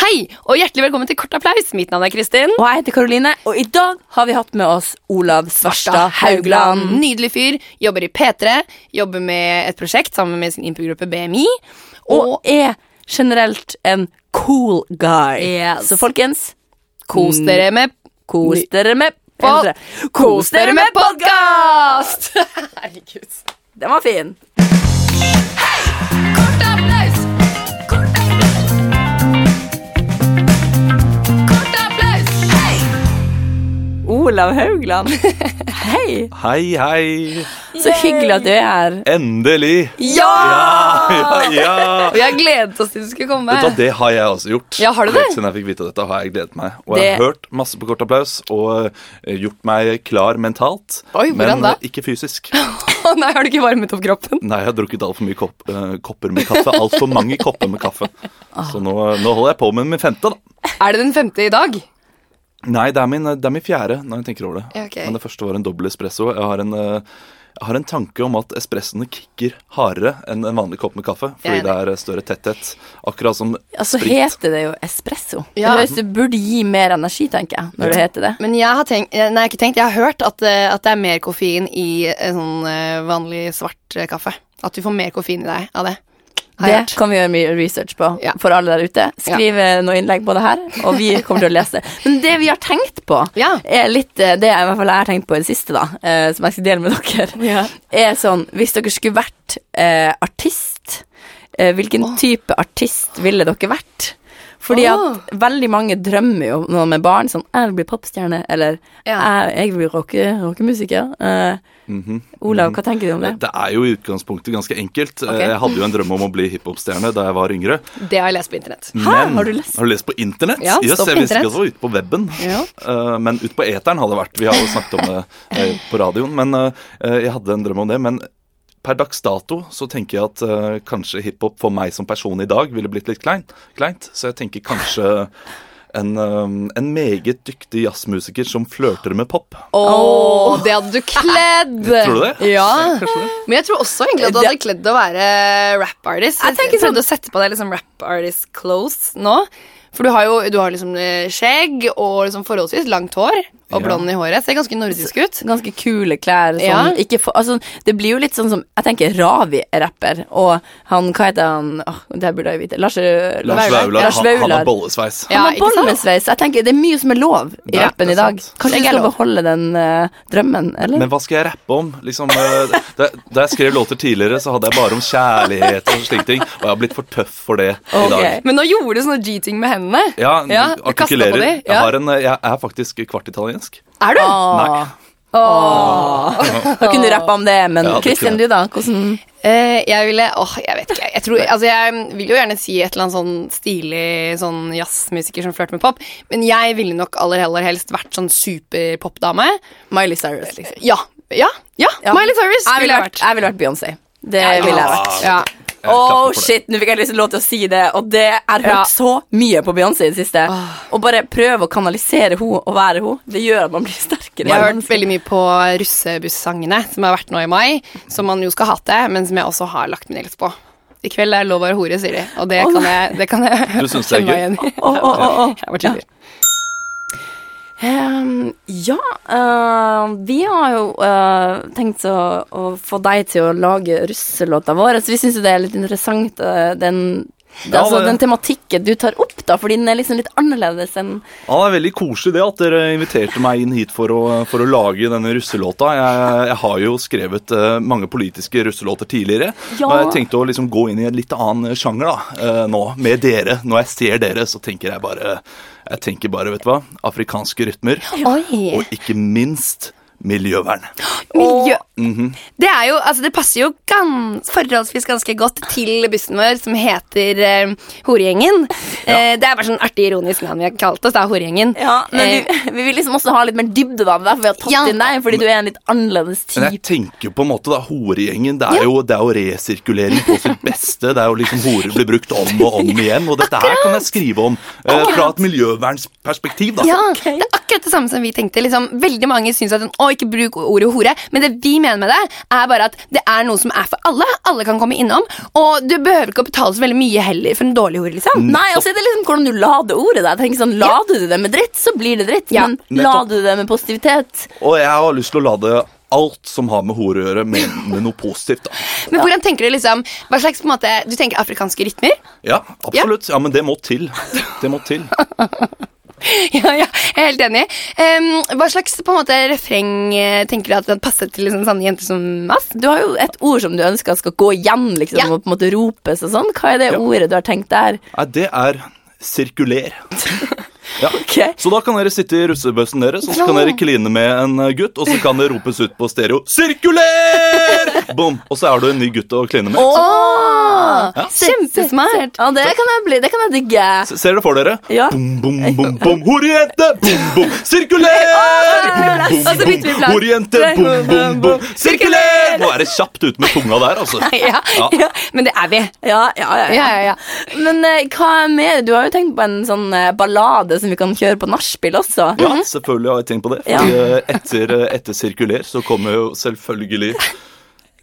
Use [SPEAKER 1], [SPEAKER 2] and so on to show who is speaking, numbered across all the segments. [SPEAKER 1] Hei, og hjertelig velkommen til Kort applaus. Mitt navn er Kristin.
[SPEAKER 2] Og jeg heter Karoline, og i dag har vi hatt med oss Olav Svarstad Haugland.
[SPEAKER 1] Nydelig fyr. Jobber i P3. Jobber med et prosjekt sammen med sin improgruppe BMI.
[SPEAKER 2] Og er generelt en cool guy.
[SPEAKER 1] Yes.
[SPEAKER 2] Så folkens,
[SPEAKER 1] Kos dere med
[SPEAKER 2] kos dere med
[SPEAKER 1] Pod-
[SPEAKER 2] P3. Kos dere med
[SPEAKER 1] podkast! Herregud.
[SPEAKER 2] Den var fin.
[SPEAKER 1] Kort applaus! Kort applaus! Kort applaus! Hei!
[SPEAKER 2] Olav Haugland. Hei.
[SPEAKER 3] Hei, hei!
[SPEAKER 2] Så hyggelig at du er her.
[SPEAKER 3] Endelig!
[SPEAKER 1] Ja!
[SPEAKER 3] Ja, ja!
[SPEAKER 1] Vi har gledet oss til du skulle komme.
[SPEAKER 3] Vet du hva, Det har jeg også gjort.
[SPEAKER 1] Ja, har du det?
[SPEAKER 3] Helt siden jeg fikk vite dette, har jeg gledet meg. Og jeg har
[SPEAKER 2] Det-
[SPEAKER 3] hørt masse på kort applaus og eh, gjort meg klar mentalt.
[SPEAKER 1] Oi, hvordan
[SPEAKER 3] men
[SPEAKER 1] da?
[SPEAKER 3] eh, ikke fysisk.
[SPEAKER 1] Å nei, har du ikke varmet opp kroppen?
[SPEAKER 3] Nei, jeg har drukket altfor mye kopp, eh, kopper med kaffe. Altfor mange kopper med kaffe.
[SPEAKER 1] Ah.
[SPEAKER 3] Så nå, nå holder jeg på med min femte, da.
[SPEAKER 1] Er det den femte i dag?
[SPEAKER 3] Nei, det er min, det er min fjerde når jeg tenker over det.
[SPEAKER 1] Ja, ok.
[SPEAKER 3] Men det første var en dobbel espresso. Jeg har en, eh, jeg har en tanke om at espressoene kicker hardere enn en vanlig kopp med kaffe.
[SPEAKER 1] Jeg er
[SPEAKER 3] Fordi det er eh, større tetthet. Akkurat som
[SPEAKER 2] Altså
[SPEAKER 3] sprit.
[SPEAKER 2] heter det jo espresso.
[SPEAKER 1] Ja.
[SPEAKER 2] Det høres det burde gi mer energi, tenker jeg, når det heter det.
[SPEAKER 1] Men jeg har tenkt, nei, jeg har ikke tenkt, jeg har hørt at, eh, at det er mer koffein i eh, sånn eh, vanlig svart eh, kaffe. At du får mer koffein i deg av det. Har jeg
[SPEAKER 2] Det
[SPEAKER 1] hørt.
[SPEAKER 2] kan vi gjøre mye research på
[SPEAKER 1] Ja.
[SPEAKER 2] for alle der ute. Skriv eh, noen innlegg på det her, og vi kommer til å lese. Men det vi har tenkt på,
[SPEAKER 1] Ja.
[SPEAKER 2] er litt eh, det jeg, i hvert fall jeg har tenkt på i det siste, da, eh, som jeg skal dele med dere,
[SPEAKER 1] Ja.
[SPEAKER 2] er sånn Hvis dere skulle vært eh, artist, eh, hvilken type artist ville dere vært? Fordi
[SPEAKER 1] Åh.
[SPEAKER 2] at veldig mange drømmer jo når de er barn, sånn 'Jeg vil bli popstjerne', eller
[SPEAKER 1] Ja.
[SPEAKER 2] 'Jeg, jeg vil bli rocke, rockemusiker'. Eh,
[SPEAKER 3] Mhm.
[SPEAKER 2] Olav, hva tenker du om det?
[SPEAKER 3] Det er jo i utgangspunktet ganske enkelt. Eh, Jeg hadde jo en drøm om å bli hiphop-stjerne da jeg var yngre.
[SPEAKER 1] Det har jeg lest på internett.
[SPEAKER 3] Men
[SPEAKER 2] Har du lest?
[SPEAKER 3] på internett?
[SPEAKER 1] Ja,
[SPEAKER 3] Jøss,
[SPEAKER 1] stopp
[SPEAKER 3] jeg visste
[SPEAKER 1] internett.
[SPEAKER 3] ikke at det var ute på weben.
[SPEAKER 1] Ja.
[SPEAKER 3] Eh, men ut på eteren har det vært. Vi har jo snakket om det eh, på radioen. Men eh, eh, jeg hadde en drøm om det. Men per dags dato så tenker jeg at eh, kanskje hiphop for meg som person i dag ville blitt litt kleint. kleint. Så jeg tenker kanskje en, eh, en meget dyktig jazzmusiker som flørter med pop.
[SPEAKER 1] Åh, det hadde du kledd!
[SPEAKER 3] Tror du det?
[SPEAKER 1] Ja.
[SPEAKER 3] Kanskje det?
[SPEAKER 1] Men jeg tror også egentlig at du hadde kledd å være rap artist. Jeg,
[SPEAKER 2] tenker
[SPEAKER 1] prøvde å sette på deg liksom rap artist clothes nå. For du har jo du har liksom eh, skjegg og liksom forholdsvis langt hår og
[SPEAKER 3] Ja.
[SPEAKER 1] blond i håret. Ser ganske nordisk ut.
[SPEAKER 2] Ganske kule klær. Sånn,
[SPEAKER 1] Ja.
[SPEAKER 2] ikke for, altså, det blir jo litt sånn som Jeg tenker Ravi er rapper, og han Hva heter han Åh, Det her burde jeg vite. Lars,
[SPEAKER 3] Lars Vaular.
[SPEAKER 2] Lars
[SPEAKER 3] Han, han
[SPEAKER 2] Vaular.
[SPEAKER 3] har bollesveis.
[SPEAKER 1] Ja,
[SPEAKER 2] Han har
[SPEAKER 1] ikke sant?
[SPEAKER 2] bollesveis. Jeg tenker Det er mye som er lov i
[SPEAKER 3] Ja,
[SPEAKER 2] rappen
[SPEAKER 3] det er
[SPEAKER 2] i dag.
[SPEAKER 3] sant.
[SPEAKER 2] Kanskje
[SPEAKER 1] Ikke
[SPEAKER 2] jeg skal
[SPEAKER 1] lov.
[SPEAKER 2] beholde den eh, drømmen, eller?
[SPEAKER 3] Men hva skal jeg rappe om? Liksom, eh, da, da jeg skrev låter tidligere, så hadde jeg bare om kjærlighet og slike ting. Og jeg har blitt for tøff for det i dag.
[SPEAKER 2] Ok.
[SPEAKER 1] Men nå gjorde du sånne G-ting med hendene.
[SPEAKER 3] Ja,
[SPEAKER 1] Ja, du kastet på
[SPEAKER 3] artikulerer.
[SPEAKER 1] de, ja. Ah.
[SPEAKER 3] Jeg, har en, eh, jeg er faktisk kvart italiensk.
[SPEAKER 1] Er du?
[SPEAKER 2] Åh. Åh. Da kunne du rappa om det, men
[SPEAKER 3] Ja, det
[SPEAKER 2] Christian,
[SPEAKER 3] kunne
[SPEAKER 2] du, da? Hvordan
[SPEAKER 1] Eh, jeg ville Åh, jeg vet ikke. Jeg, tror, altså, jeg vil jo gjerne si et eller annet sånn stilig sånn jazzmusiker som flørter med pop, men jeg ville nok aller heller helst vært sånn superpopdame.
[SPEAKER 2] Miley Cyrus, liksom.
[SPEAKER 1] Ja. Ja, ja.
[SPEAKER 2] Ja.
[SPEAKER 1] Miley Cyrus ville
[SPEAKER 2] Jeg ville
[SPEAKER 1] jeg
[SPEAKER 2] vært,
[SPEAKER 1] vært.
[SPEAKER 2] jeg ville vært Beyoncé. Det ville jeg vært.
[SPEAKER 1] Ja.
[SPEAKER 3] Jeg
[SPEAKER 2] Oh
[SPEAKER 3] klapper for det.
[SPEAKER 2] shit, nå fikk jeg liksom lov til å si det, og det jeg har hørt
[SPEAKER 1] Ja.
[SPEAKER 2] så mye på Beyoncé i det siste. Å bare prøve å kanalisere henne og være henne, det gjør at man blir sterkere.
[SPEAKER 1] Jeg har hørt veldig mye på russebussangene som har vært nå i mai, som man jo skal hate, men som jeg også har lagt min elsk på. I kveld er lov å være hore, sier de, og det
[SPEAKER 2] Åh,
[SPEAKER 1] kan jeg, det kan jeg
[SPEAKER 3] Du synes det
[SPEAKER 1] kjenne
[SPEAKER 3] er
[SPEAKER 1] meg igjen i.
[SPEAKER 2] Åh, åh, åh, åh.
[SPEAKER 1] Jeg var tidlig.
[SPEAKER 2] Ehm, ja, eh, vi har jo eh, tenkt å, å få deg til å lage russelåta vår, så vi syns jo det er litt interessant, eh, den,
[SPEAKER 3] Ja,
[SPEAKER 2] altså,
[SPEAKER 3] det-
[SPEAKER 2] den tematikken du tar opp, da, fordi den er liksom litt annerledes enn
[SPEAKER 3] Ja, det er veldig koselig det at dere inviterte meg inn hit for å, for å lage denne russelåta. Jeg, jeg har jo skrevet eh, mange politiske russelåter tidligere.
[SPEAKER 2] Ja.
[SPEAKER 3] Og jeg tenkte å liksom gå inn i en litt annen sjanger da, eh, nå, med dere. Når jeg ser dere, så tenker jeg bare, jeg tenker bare vet du hva, afrikanske rytmer.
[SPEAKER 1] Oi.
[SPEAKER 3] Og ikke minst miljøvern.
[SPEAKER 1] Miljø.
[SPEAKER 2] Mhm.
[SPEAKER 1] Det er jo, altså det passer jo gans, forholdsvis ganske godt til bussen vår som heter eh, Horegjengen. Eh, det er bare sånn artig ironisk navn vi har kalt oss, da, Horegjengen.
[SPEAKER 2] Ja, men
[SPEAKER 1] Eh,
[SPEAKER 2] vi, vi vil liksom også ha litt mer dybde, da. Derfor vi har tatt
[SPEAKER 1] Ja.
[SPEAKER 2] inn deg, fordi du er en litt annerledes
[SPEAKER 3] Men jeg
[SPEAKER 2] type.
[SPEAKER 3] tenker jo på en måte da, horegjengen, det er, jo, det er jo resirkulering på sitt beste. Det er jo liksom horer blir brukt om og om igjen, og dette her kan jeg skrive om eh, fra et miljøvernsperspektiv da.
[SPEAKER 1] ja, Det er akkurat det samme som vi tenkte. Liksom, veldig mange syns at den, å, og ikke bruk ordet hore. Men det vi mener med det, er bare at det er noe som er for alle. Alle kan komme innom, og du behøver ikke å betale så veldig mye heller for en dårlig hore, liksom.
[SPEAKER 2] Nei, altså det er liksom hvordan du lader ordet. Da. Jeg tenker sånn, Lader du det med dritt, så blir det dritt.
[SPEAKER 1] Ja.
[SPEAKER 2] Men
[SPEAKER 3] Nettopp.
[SPEAKER 2] lader du det med positivitet
[SPEAKER 3] Og jeg har lyst til å lade alt som har med hore å gjøre, med, med noe positivt. da.
[SPEAKER 1] Men hvordan tenker du liksom Hva slags på en måte Du tenker afrikanske rytmer?
[SPEAKER 3] Ja, absolutt. Ja, men det må til. Det må til.
[SPEAKER 1] ja, ja, jeg er helt enig. Em, hva slags på en måte refreng eh, tenker du at det passer til liksom, sånne jenter som oss?
[SPEAKER 2] Du har jo et ord som du ønsker skal gå igjen, liksom,
[SPEAKER 1] Ja.
[SPEAKER 2] og på en måte ropes og sånn. Hva er det
[SPEAKER 3] Ja.
[SPEAKER 2] ordet du har tenkt der?
[SPEAKER 3] Nei, det er sirkuler. Ja.
[SPEAKER 2] Ok.
[SPEAKER 3] Så da kan dere sitte i russebøssen deres, og så kan
[SPEAKER 1] Ja.
[SPEAKER 3] dere kline med en eh, gutt, og så kan det ropes ut på stereo 'Sirkuler!' Boom! Og så er du en ny gutt å kline med.
[SPEAKER 2] Åh!
[SPEAKER 1] Ja. Kjempesmart.
[SPEAKER 2] Ja, det kan jeg bli, det kan jeg digge.
[SPEAKER 3] S- Ser dere for dere?
[SPEAKER 2] Ja.
[SPEAKER 3] Bom, bom, bom, bom, horjente, bom, bom, sirkuler! Bom,
[SPEAKER 1] Og så bytter
[SPEAKER 3] bom,
[SPEAKER 1] vi
[SPEAKER 3] bom,
[SPEAKER 1] plass.
[SPEAKER 3] horjente, bom, bom, bom, sirkuler! Nå er det kjapt ut med tunga der, altså.
[SPEAKER 1] Ja,
[SPEAKER 3] Ja.
[SPEAKER 1] ja, men det er vi.
[SPEAKER 2] Ja, ja, ja.
[SPEAKER 1] Ja, ja, ja.
[SPEAKER 2] Men eh, hva er mer? Du har jo tenkt på en sånn eh, ballade som vi kan kjøre på nachspiel også.
[SPEAKER 3] Ja, selvfølgelig har jeg tenkt på det.
[SPEAKER 2] Mhm. Ja.
[SPEAKER 3] Fordi eh, etter, eh, etter sirkuler så kommer jo selvfølgelig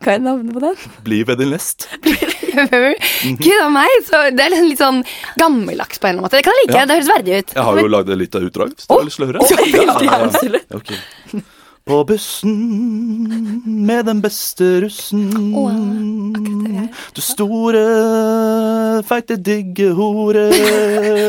[SPEAKER 2] Hva er navnet på den?
[SPEAKER 3] Bli ved din lest. Mhm.
[SPEAKER 1] Gud a meg, så det er liksom litt sånn gammeldags på en eller annen måte. Det kan jeg like.
[SPEAKER 3] Ja.
[SPEAKER 1] Det høres verdig ut.
[SPEAKER 3] Jeg har jo lagd et lite utdrag. Hvis du har lyst til å høre.
[SPEAKER 2] absolutt.
[SPEAKER 3] Ok. På bussen med den beste russen. Du store, feite, digge hore,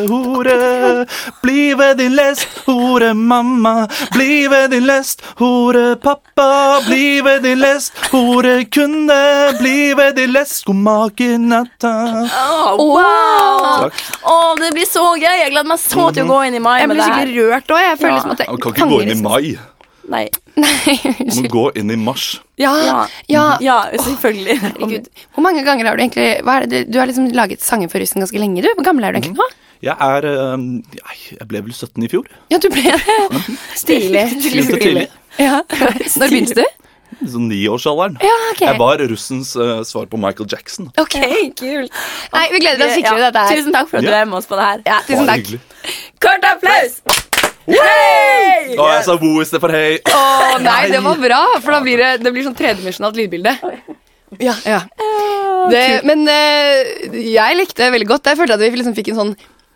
[SPEAKER 3] hore. Bli ved din lest, hore mamma. Bli ved din lest, hore pappa. Bli ved din lest, hore kunde. Bli ved din lest, skomaker natta.
[SPEAKER 2] Åh, wow!
[SPEAKER 1] Wow!
[SPEAKER 3] Takk. Mhm.
[SPEAKER 2] Åh, det blir så gøy. Jeg gleder meg så til å gå inn i mai
[SPEAKER 1] Jeg
[SPEAKER 2] med
[SPEAKER 1] blir
[SPEAKER 2] det her.
[SPEAKER 1] skikkelig rørt òg. Jeg føler
[SPEAKER 2] Ja.
[SPEAKER 1] som at
[SPEAKER 3] Man
[SPEAKER 1] jeg
[SPEAKER 3] kan ikke gå inn i
[SPEAKER 1] liksom-
[SPEAKER 3] mai.
[SPEAKER 2] Nei.
[SPEAKER 1] Nei, unnskyld.
[SPEAKER 3] Man må gå inn i mars.
[SPEAKER 1] Ja,
[SPEAKER 2] Ja.
[SPEAKER 1] ja.
[SPEAKER 2] Ja, selvfølgelig.
[SPEAKER 1] Herregud. Hvor mange ganger har du egentlig hva er det, du- Du har liksom laget sanger for russen ganske lenge, du. Hvor gammel er du
[SPEAKER 3] Mhm.
[SPEAKER 1] egentlig nå?
[SPEAKER 3] Jeg er eh, nei, Jeg ble vel 17 i fjor.
[SPEAKER 1] Ja, du ble det. Stilig. Skikkelig
[SPEAKER 3] Mhm. Begynte tidlig.
[SPEAKER 1] Ja. Når begynte du?
[SPEAKER 3] Sånn niårsalderen.
[SPEAKER 1] Ja, ok.
[SPEAKER 3] Jeg var russens eh, svar på Michael Jackson.
[SPEAKER 1] Ok, kult. Nei, vi gleder oss skikkelig til
[SPEAKER 2] Ja,
[SPEAKER 1] dette her.
[SPEAKER 2] Tusen takk for at du
[SPEAKER 3] Ja.
[SPEAKER 2] er med oss på det her.
[SPEAKER 1] Ja, tusen
[SPEAKER 3] Bare
[SPEAKER 1] takk.
[SPEAKER 3] hyggelig.
[SPEAKER 2] Kort applaus! Hey!
[SPEAKER 3] Å, jeg sa wo istedenfor hei.
[SPEAKER 1] Å nei, det var bra, for da blir det, det blir sånn tredimensjonalt lydbilde. Ja, ja. Det, men eh, jeg likte det veldig godt. Jeg følte at vi liksom fikk en sånn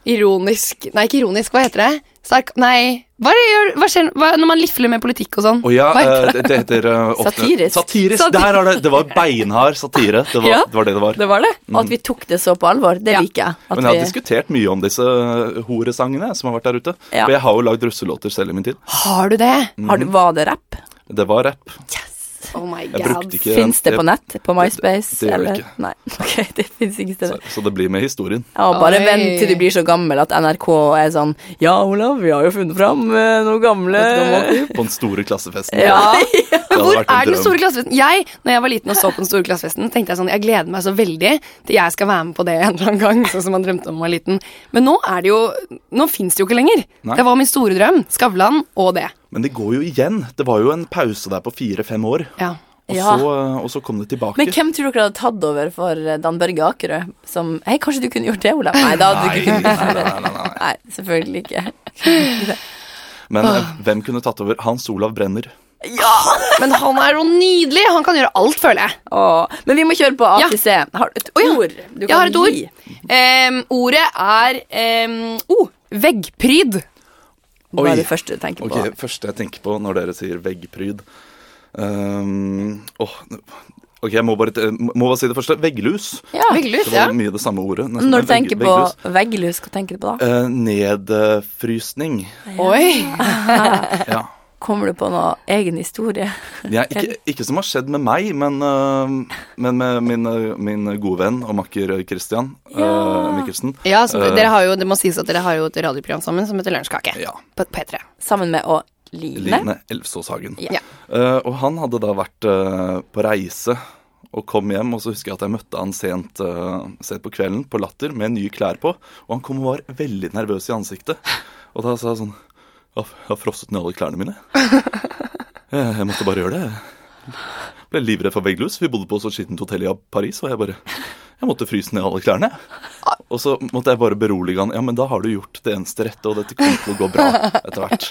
[SPEAKER 1] ironisk Nei, ikke ironisk, hva heter det? Sark... Nei, hva, er det, gjør- hva skjer hva, når man lifler med politikk og sånn?
[SPEAKER 3] Og ja,
[SPEAKER 1] Hva heter
[SPEAKER 3] eh, det, det heter eh, ofte-
[SPEAKER 2] Satirisk.
[SPEAKER 3] Satirisk.
[SPEAKER 1] Satir-
[SPEAKER 3] Der er det. Det var beinhard satire. Det var,
[SPEAKER 2] Ja.
[SPEAKER 3] det, var det det var.
[SPEAKER 2] Det var det. Og at vi tok det så på alvor, det
[SPEAKER 1] Ja.
[SPEAKER 2] liker jeg. At
[SPEAKER 3] Men jeg har
[SPEAKER 2] vi...
[SPEAKER 3] diskutert mye om disse eh, horesangene som har vært der ute.
[SPEAKER 2] Ja.
[SPEAKER 3] For jeg har jo lagd russelåter selv i min tid.
[SPEAKER 1] Har du det?
[SPEAKER 3] Mm.
[SPEAKER 2] Har du, var det rapp?
[SPEAKER 3] Det var rapp.
[SPEAKER 1] Oh my
[SPEAKER 3] Jeg
[SPEAKER 1] god.
[SPEAKER 3] brukte ikke
[SPEAKER 2] Fins det på
[SPEAKER 3] jeg-
[SPEAKER 2] nett? På MySpace?
[SPEAKER 3] det gjør det ikke.
[SPEAKER 2] Nei, ok, det fins ikke
[SPEAKER 3] Så,
[SPEAKER 2] steder.
[SPEAKER 3] så det blir med historien.
[SPEAKER 2] Ja, bare
[SPEAKER 1] Oi.
[SPEAKER 2] vent til du blir så gammel at NRK er sånn Ja, Olav, vi har jo funnet fram eh, noen gamle
[SPEAKER 3] På den store klassefesten.
[SPEAKER 2] Ja.
[SPEAKER 3] Det hadde
[SPEAKER 1] Hvor
[SPEAKER 3] vært en
[SPEAKER 1] er den
[SPEAKER 3] drøm.
[SPEAKER 1] store klassefesten? Jeg, når jeg var liten og så på den store klassefesten, tenkte jeg sånn, jeg gleder meg så veldig til jeg skal være med på det en eller annen gang, sånn som man drømte om da man var liten. Men nå er det jo, nå finnes det jo ikke lenger.
[SPEAKER 3] Nei.
[SPEAKER 1] Det var min store drøm, Skavlan og det.
[SPEAKER 3] Men det går jo igjen. Det var jo en pause der på fire-fem år.
[SPEAKER 1] Ja.
[SPEAKER 3] Og,
[SPEAKER 2] Ja.
[SPEAKER 3] så, eh, og så kom det tilbake.
[SPEAKER 2] Men hvem tror dere hadde tatt over for eh, Dan Børge Akerø? Som Hei, kanskje du kunne gjort det, Olav? Nei, da hadde du
[SPEAKER 3] Nei,
[SPEAKER 2] ikke kunnet
[SPEAKER 3] nei,
[SPEAKER 2] gjort det.
[SPEAKER 3] nei, nei, nei.
[SPEAKER 2] Nei, selvfølgelig ikke.
[SPEAKER 3] Men eh, hvem kunne tatt over? Hans Olav Brenner.
[SPEAKER 2] Ja!
[SPEAKER 1] Men han er jo nydelig, han kan gjøre alt, føler jeg.
[SPEAKER 2] Åh, men vi må kjøre på ATC. Har du et ord du
[SPEAKER 1] Jeg har et ord.
[SPEAKER 2] gi?
[SPEAKER 1] Em, ordet er, em, oh, veggpryd.
[SPEAKER 2] Hva
[SPEAKER 3] Oi.
[SPEAKER 2] er det første du tenker
[SPEAKER 3] Ok,
[SPEAKER 2] på?
[SPEAKER 3] Første jeg tenker på når dere sier veggpryd Ehm, åh, Ok, jeg må bare, t- må bare si det første. Vegglus.
[SPEAKER 2] Ja.
[SPEAKER 1] Vegglus,
[SPEAKER 3] Det
[SPEAKER 1] ja.
[SPEAKER 3] var mye det samme ordet. nesten,
[SPEAKER 2] Når du
[SPEAKER 3] men
[SPEAKER 2] tenker
[SPEAKER 3] vegg-
[SPEAKER 2] på
[SPEAKER 3] vegglus.
[SPEAKER 2] vegglus, hva tenker du på da?
[SPEAKER 3] Eh, nedfrysning.
[SPEAKER 1] Oi.
[SPEAKER 3] Ja.
[SPEAKER 2] Kommer du på noe egen historie?
[SPEAKER 3] Ja, ikke, ikke som har skjedd med meg, men, eh, men med min, eh, min gode venn og makker Christian eh,
[SPEAKER 2] Ja.
[SPEAKER 3] Mikkelsen.
[SPEAKER 1] Ja, så,
[SPEAKER 3] Eh,
[SPEAKER 1] dere har jo, det må sies at dere har jo et radioprogram sammen som heter Lønnskake.
[SPEAKER 3] Ja.
[SPEAKER 1] På P3.
[SPEAKER 2] Sammen med å Line?
[SPEAKER 3] Line Elvsåshagen.
[SPEAKER 2] Ja.
[SPEAKER 1] Ja.
[SPEAKER 3] Eh, og han hadde da vært eh, på reise og kom hjem, og så husker jeg at jeg møtte han sent, eh, sent på kvelden på Latter med nye klær på, og han kom og var veldig nervøs i ansiktet. Og da sa jeg sånn Jeg har- jeg har frosset ned alle klærne mine. Eh, Jeg, jeg måtte bare gjøre det. Jeg Ble livredd for vegglus. Vi bodde på så skittent hotell i Paris, og jeg bare Jeg måtte fryse ned alle klærne. Og så måtte jeg bare berolige han. Ja, men da har du gjort det eneste rette, og dette kommer til å gå bra etter hvert.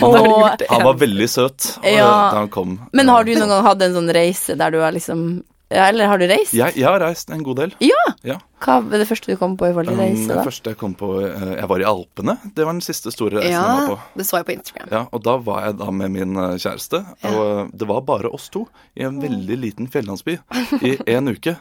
[SPEAKER 2] Og-
[SPEAKER 3] Han var veldig søt eh,
[SPEAKER 2] Ja.
[SPEAKER 3] da han kom. eh,
[SPEAKER 2] Men har du noen gang hatt en sånn reise der du har liksom ja, Eller har du reist?
[SPEAKER 3] jeg, jeg har reist en god del.
[SPEAKER 2] Ja.
[SPEAKER 3] Ja.
[SPEAKER 2] Hva var det første du kom på i forhold til
[SPEAKER 3] Um,
[SPEAKER 2] reise?
[SPEAKER 3] det
[SPEAKER 2] da?
[SPEAKER 3] første jeg kom på eh, Jeg var i Alpene. Det var den siste store reisen
[SPEAKER 4] Ja,
[SPEAKER 3] jeg var på.
[SPEAKER 4] det så jeg på Instagram.
[SPEAKER 3] Ja, Og da var jeg da med min eh, kjæreste, og eh, det var bare oss to i en veldig liten fjellandsby i en uke.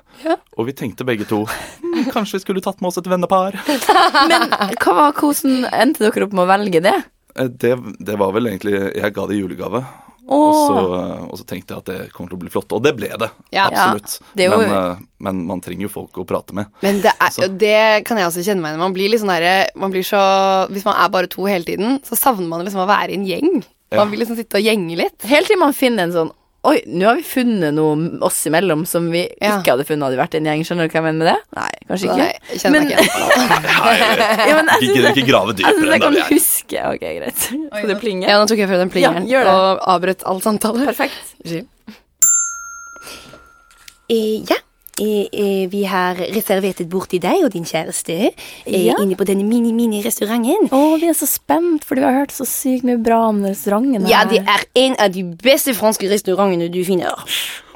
[SPEAKER 3] Og vi tenkte begge to "Hmm, kanskje vi skulle tatt med oss et vennepar.
[SPEAKER 2] Hva var kosen? Endte dere opp med å velge det?
[SPEAKER 3] Eh, Det, det var vel egentlig Jeg ga det i julegave. Og
[SPEAKER 2] Åh.
[SPEAKER 3] så, eh, og så tenkte jeg at det kommer til å bli flott, og det ble det.
[SPEAKER 4] Ja.
[SPEAKER 3] Absolutt.
[SPEAKER 2] Ja, det er jo-
[SPEAKER 3] men, eh, men man trenger jo folk å prate med.
[SPEAKER 4] Men det, er,
[SPEAKER 3] Altså-
[SPEAKER 4] og det kan jeg også kjenne meg igjen i. Man blir litt sånn derre Man blir så Hvis man er bare to hele tiden, så savner man liksom å være i en gjeng.
[SPEAKER 3] Ja.
[SPEAKER 4] Man vil liksom sitte og gjenge litt.
[SPEAKER 2] Helt til man finner en sånn Oi, nå har vi funnet noe oss imellom som vi
[SPEAKER 4] Ja.
[SPEAKER 2] ikke hadde funnet hadde vi vært en gjeng. Skjønner du hva jeg mener med det? Nei, kanskje ikke.
[SPEAKER 4] Nei, jeg kjenner meg ikke igjen.
[SPEAKER 2] ja, men jeg
[SPEAKER 3] Ikke,
[SPEAKER 2] synes
[SPEAKER 3] ikke
[SPEAKER 2] jeg,
[SPEAKER 3] grave
[SPEAKER 2] jeg, synes jeg
[SPEAKER 3] dypere enn der
[SPEAKER 2] kan
[SPEAKER 3] vi er.
[SPEAKER 2] huske Ok, greit. Så det plinger.
[SPEAKER 4] Ja, nå tok jeg frem den plingeren
[SPEAKER 2] Ja, gjør det.
[SPEAKER 4] og avbrøt all samtale.
[SPEAKER 2] Perfekt.
[SPEAKER 4] Regi.
[SPEAKER 1] Eh, ja. Eh, eh, vi har reservert et bord til deg og din kjæreste eh,
[SPEAKER 2] Ja.
[SPEAKER 1] inne på denne mini-mini-restauranten.
[SPEAKER 2] Å, vi er så spent, fordi vi har hørt så sykt mye bra om den restauranten.
[SPEAKER 1] Ja,
[SPEAKER 2] her.
[SPEAKER 1] det er en av de beste franske restaurantene du finner.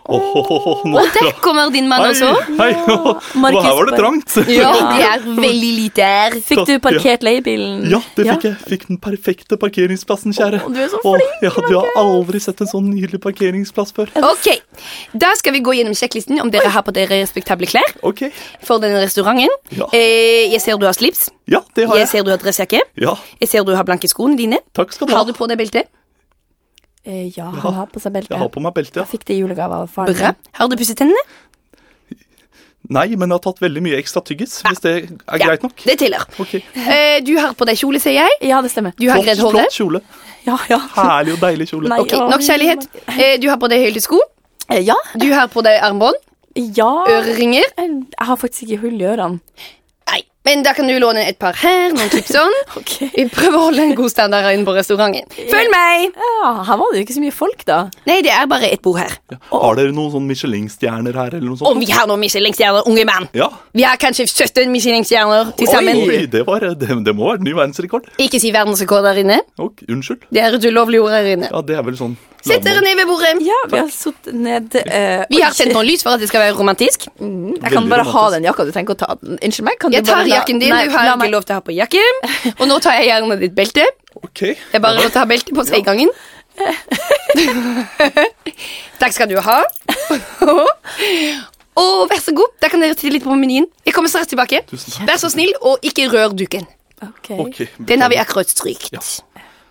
[SPEAKER 3] Åhåhå, nå
[SPEAKER 1] Der kommer din mann også.
[SPEAKER 3] Hei, hei. Og her var det trangt.
[SPEAKER 1] Ja, det er veldig lite her.
[SPEAKER 2] Fikk du
[SPEAKER 3] Ja.
[SPEAKER 2] parkert leiebilen?
[SPEAKER 3] Ja, det fikk jeg. Fikk den perfekte parkeringsplassen, kjære.
[SPEAKER 2] Å, du er så
[SPEAKER 3] Å, ja, du har aldri sett en sånn nydelig parkeringsplass før.
[SPEAKER 1] Ok, Da skal vi gå gjennom sjekklisten om dere har på dere respektable klær
[SPEAKER 3] Ok.
[SPEAKER 1] for denne restauranten.
[SPEAKER 3] Ja.
[SPEAKER 1] Eh, jeg ser du har slips.
[SPEAKER 3] Ja, det har
[SPEAKER 1] Jeg
[SPEAKER 3] jeg.
[SPEAKER 1] ser du har dressjakke.
[SPEAKER 3] Ja,
[SPEAKER 1] Jeg ser du har blanke skoene dine.
[SPEAKER 3] takk skal du ha.
[SPEAKER 1] Har du på deg belte?
[SPEAKER 2] Eh, ja, han har på seg belte.
[SPEAKER 3] Jeg har på meg belte,
[SPEAKER 2] Jeg
[SPEAKER 3] ja.
[SPEAKER 2] fikk det i julegave av faren
[SPEAKER 1] Bra.
[SPEAKER 2] min.
[SPEAKER 1] Har du pusset tennene?
[SPEAKER 3] Nei, men jeg har tatt veldig mye ekstra tyggis, hvis det er
[SPEAKER 1] Ja,
[SPEAKER 3] greit nok.
[SPEAKER 1] Det teller.
[SPEAKER 3] Ok.
[SPEAKER 1] Eh, du har på deg kjole, ser jeg.
[SPEAKER 2] Ja, det stemmer.
[SPEAKER 1] Du har
[SPEAKER 3] Flott,
[SPEAKER 1] gredd hode.
[SPEAKER 3] flott kjole.
[SPEAKER 2] Ja, ja.
[SPEAKER 3] Herlig og deilig kjole.
[SPEAKER 2] Nei,
[SPEAKER 1] Ok, Nok
[SPEAKER 2] å,
[SPEAKER 1] kjærlighet. Eh, du har på deg høylte sko.
[SPEAKER 2] Eh, Ja.
[SPEAKER 1] Du har på deg armbånd.
[SPEAKER 2] ja.
[SPEAKER 1] Øreringer.
[SPEAKER 2] Jeg jeg har faktisk ikke hull i ørene.
[SPEAKER 1] Nei, men da kan du låne et par her, noen klipp sånn.
[SPEAKER 2] Ok.
[SPEAKER 1] Vi prøver å holde en god standard inne på restauranten. Følg meg!
[SPEAKER 2] Ja, her var det jo ikke så mye folk, da.
[SPEAKER 1] Nei, det er bare et bord her.
[SPEAKER 3] Ja. Har dere noen sånn Michelin-stjerner her, eller noe
[SPEAKER 1] Om
[SPEAKER 3] sånt?
[SPEAKER 1] vi har noen Michelin-stjerner, unge mann.
[SPEAKER 3] Ja.
[SPEAKER 1] Vi har kanskje 17 Michelin-stjerner til sammen.
[SPEAKER 3] Oi, det, var, det, det må være ny verdensrekord.
[SPEAKER 1] Ikke si verdensrekord der inne.
[SPEAKER 3] Ok, unnskyld.
[SPEAKER 1] Det er et ulovlig ord her inne.
[SPEAKER 3] Ja, det er vel sånn
[SPEAKER 1] Sett dere ned ved bordet.
[SPEAKER 2] Ja, vi har sittet ned eh,
[SPEAKER 1] Vi har
[SPEAKER 2] oi,
[SPEAKER 1] tent noen lys for at det skal være romantisk.
[SPEAKER 2] Jeg kan
[SPEAKER 3] Veldig
[SPEAKER 2] bare ha
[SPEAKER 3] romantisk.
[SPEAKER 2] den jakka. Du trenger ikke å ta den. Unnskyld meg. Kan
[SPEAKER 4] Jeg
[SPEAKER 2] du bare
[SPEAKER 4] tar jakken din, du har
[SPEAKER 2] la
[SPEAKER 4] ikke
[SPEAKER 2] meg-
[SPEAKER 4] lov til å ha på jakke. Og nå tar jeg gjerne ditt belte.
[SPEAKER 3] Ok.
[SPEAKER 4] Det er bare lov til å ha belte på seg i gangen.
[SPEAKER 1] Takk skal du ha. Og vær så god, da kan dere titte litt på menyen. Jeg kommer straks tilbake.
[SPEAKER 3] Tusen takk.
[SPEAKER 1] Vær så snill, og ikke rør duken.
[SPEAKER 2] Ok,
[SPEAKER 3] Ok,
[SPEAKER 1] Den har vi akkurat strykt.
[SPEAKER 3] Ja.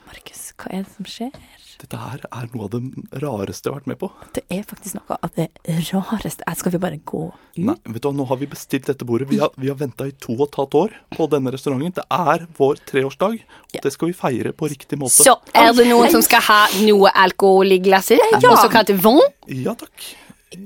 [SPEAKER 2] Markus, hva er det som skjer?
[SPEAKER 3] Dette her er noe av det rareste jeg har vært med på.
[SPEAKER 2] Det er faktisk noe av det rareste Jeg skal vi bare gå ut?
[SPEAKER 3] Nei, vet du hva, Nå har vi bestilt dette bordet. Vi har, vi har venta i to og et halvt år på denne restauranten. Det er vår treårsdag, og det skal vi feire på riktig måte.
[SPEAKER 1] Så er det noen som skal ha noe alkohol i glasset? Eh, Ja. Også kalt vann?
[SPEAKER 3] Ja takk.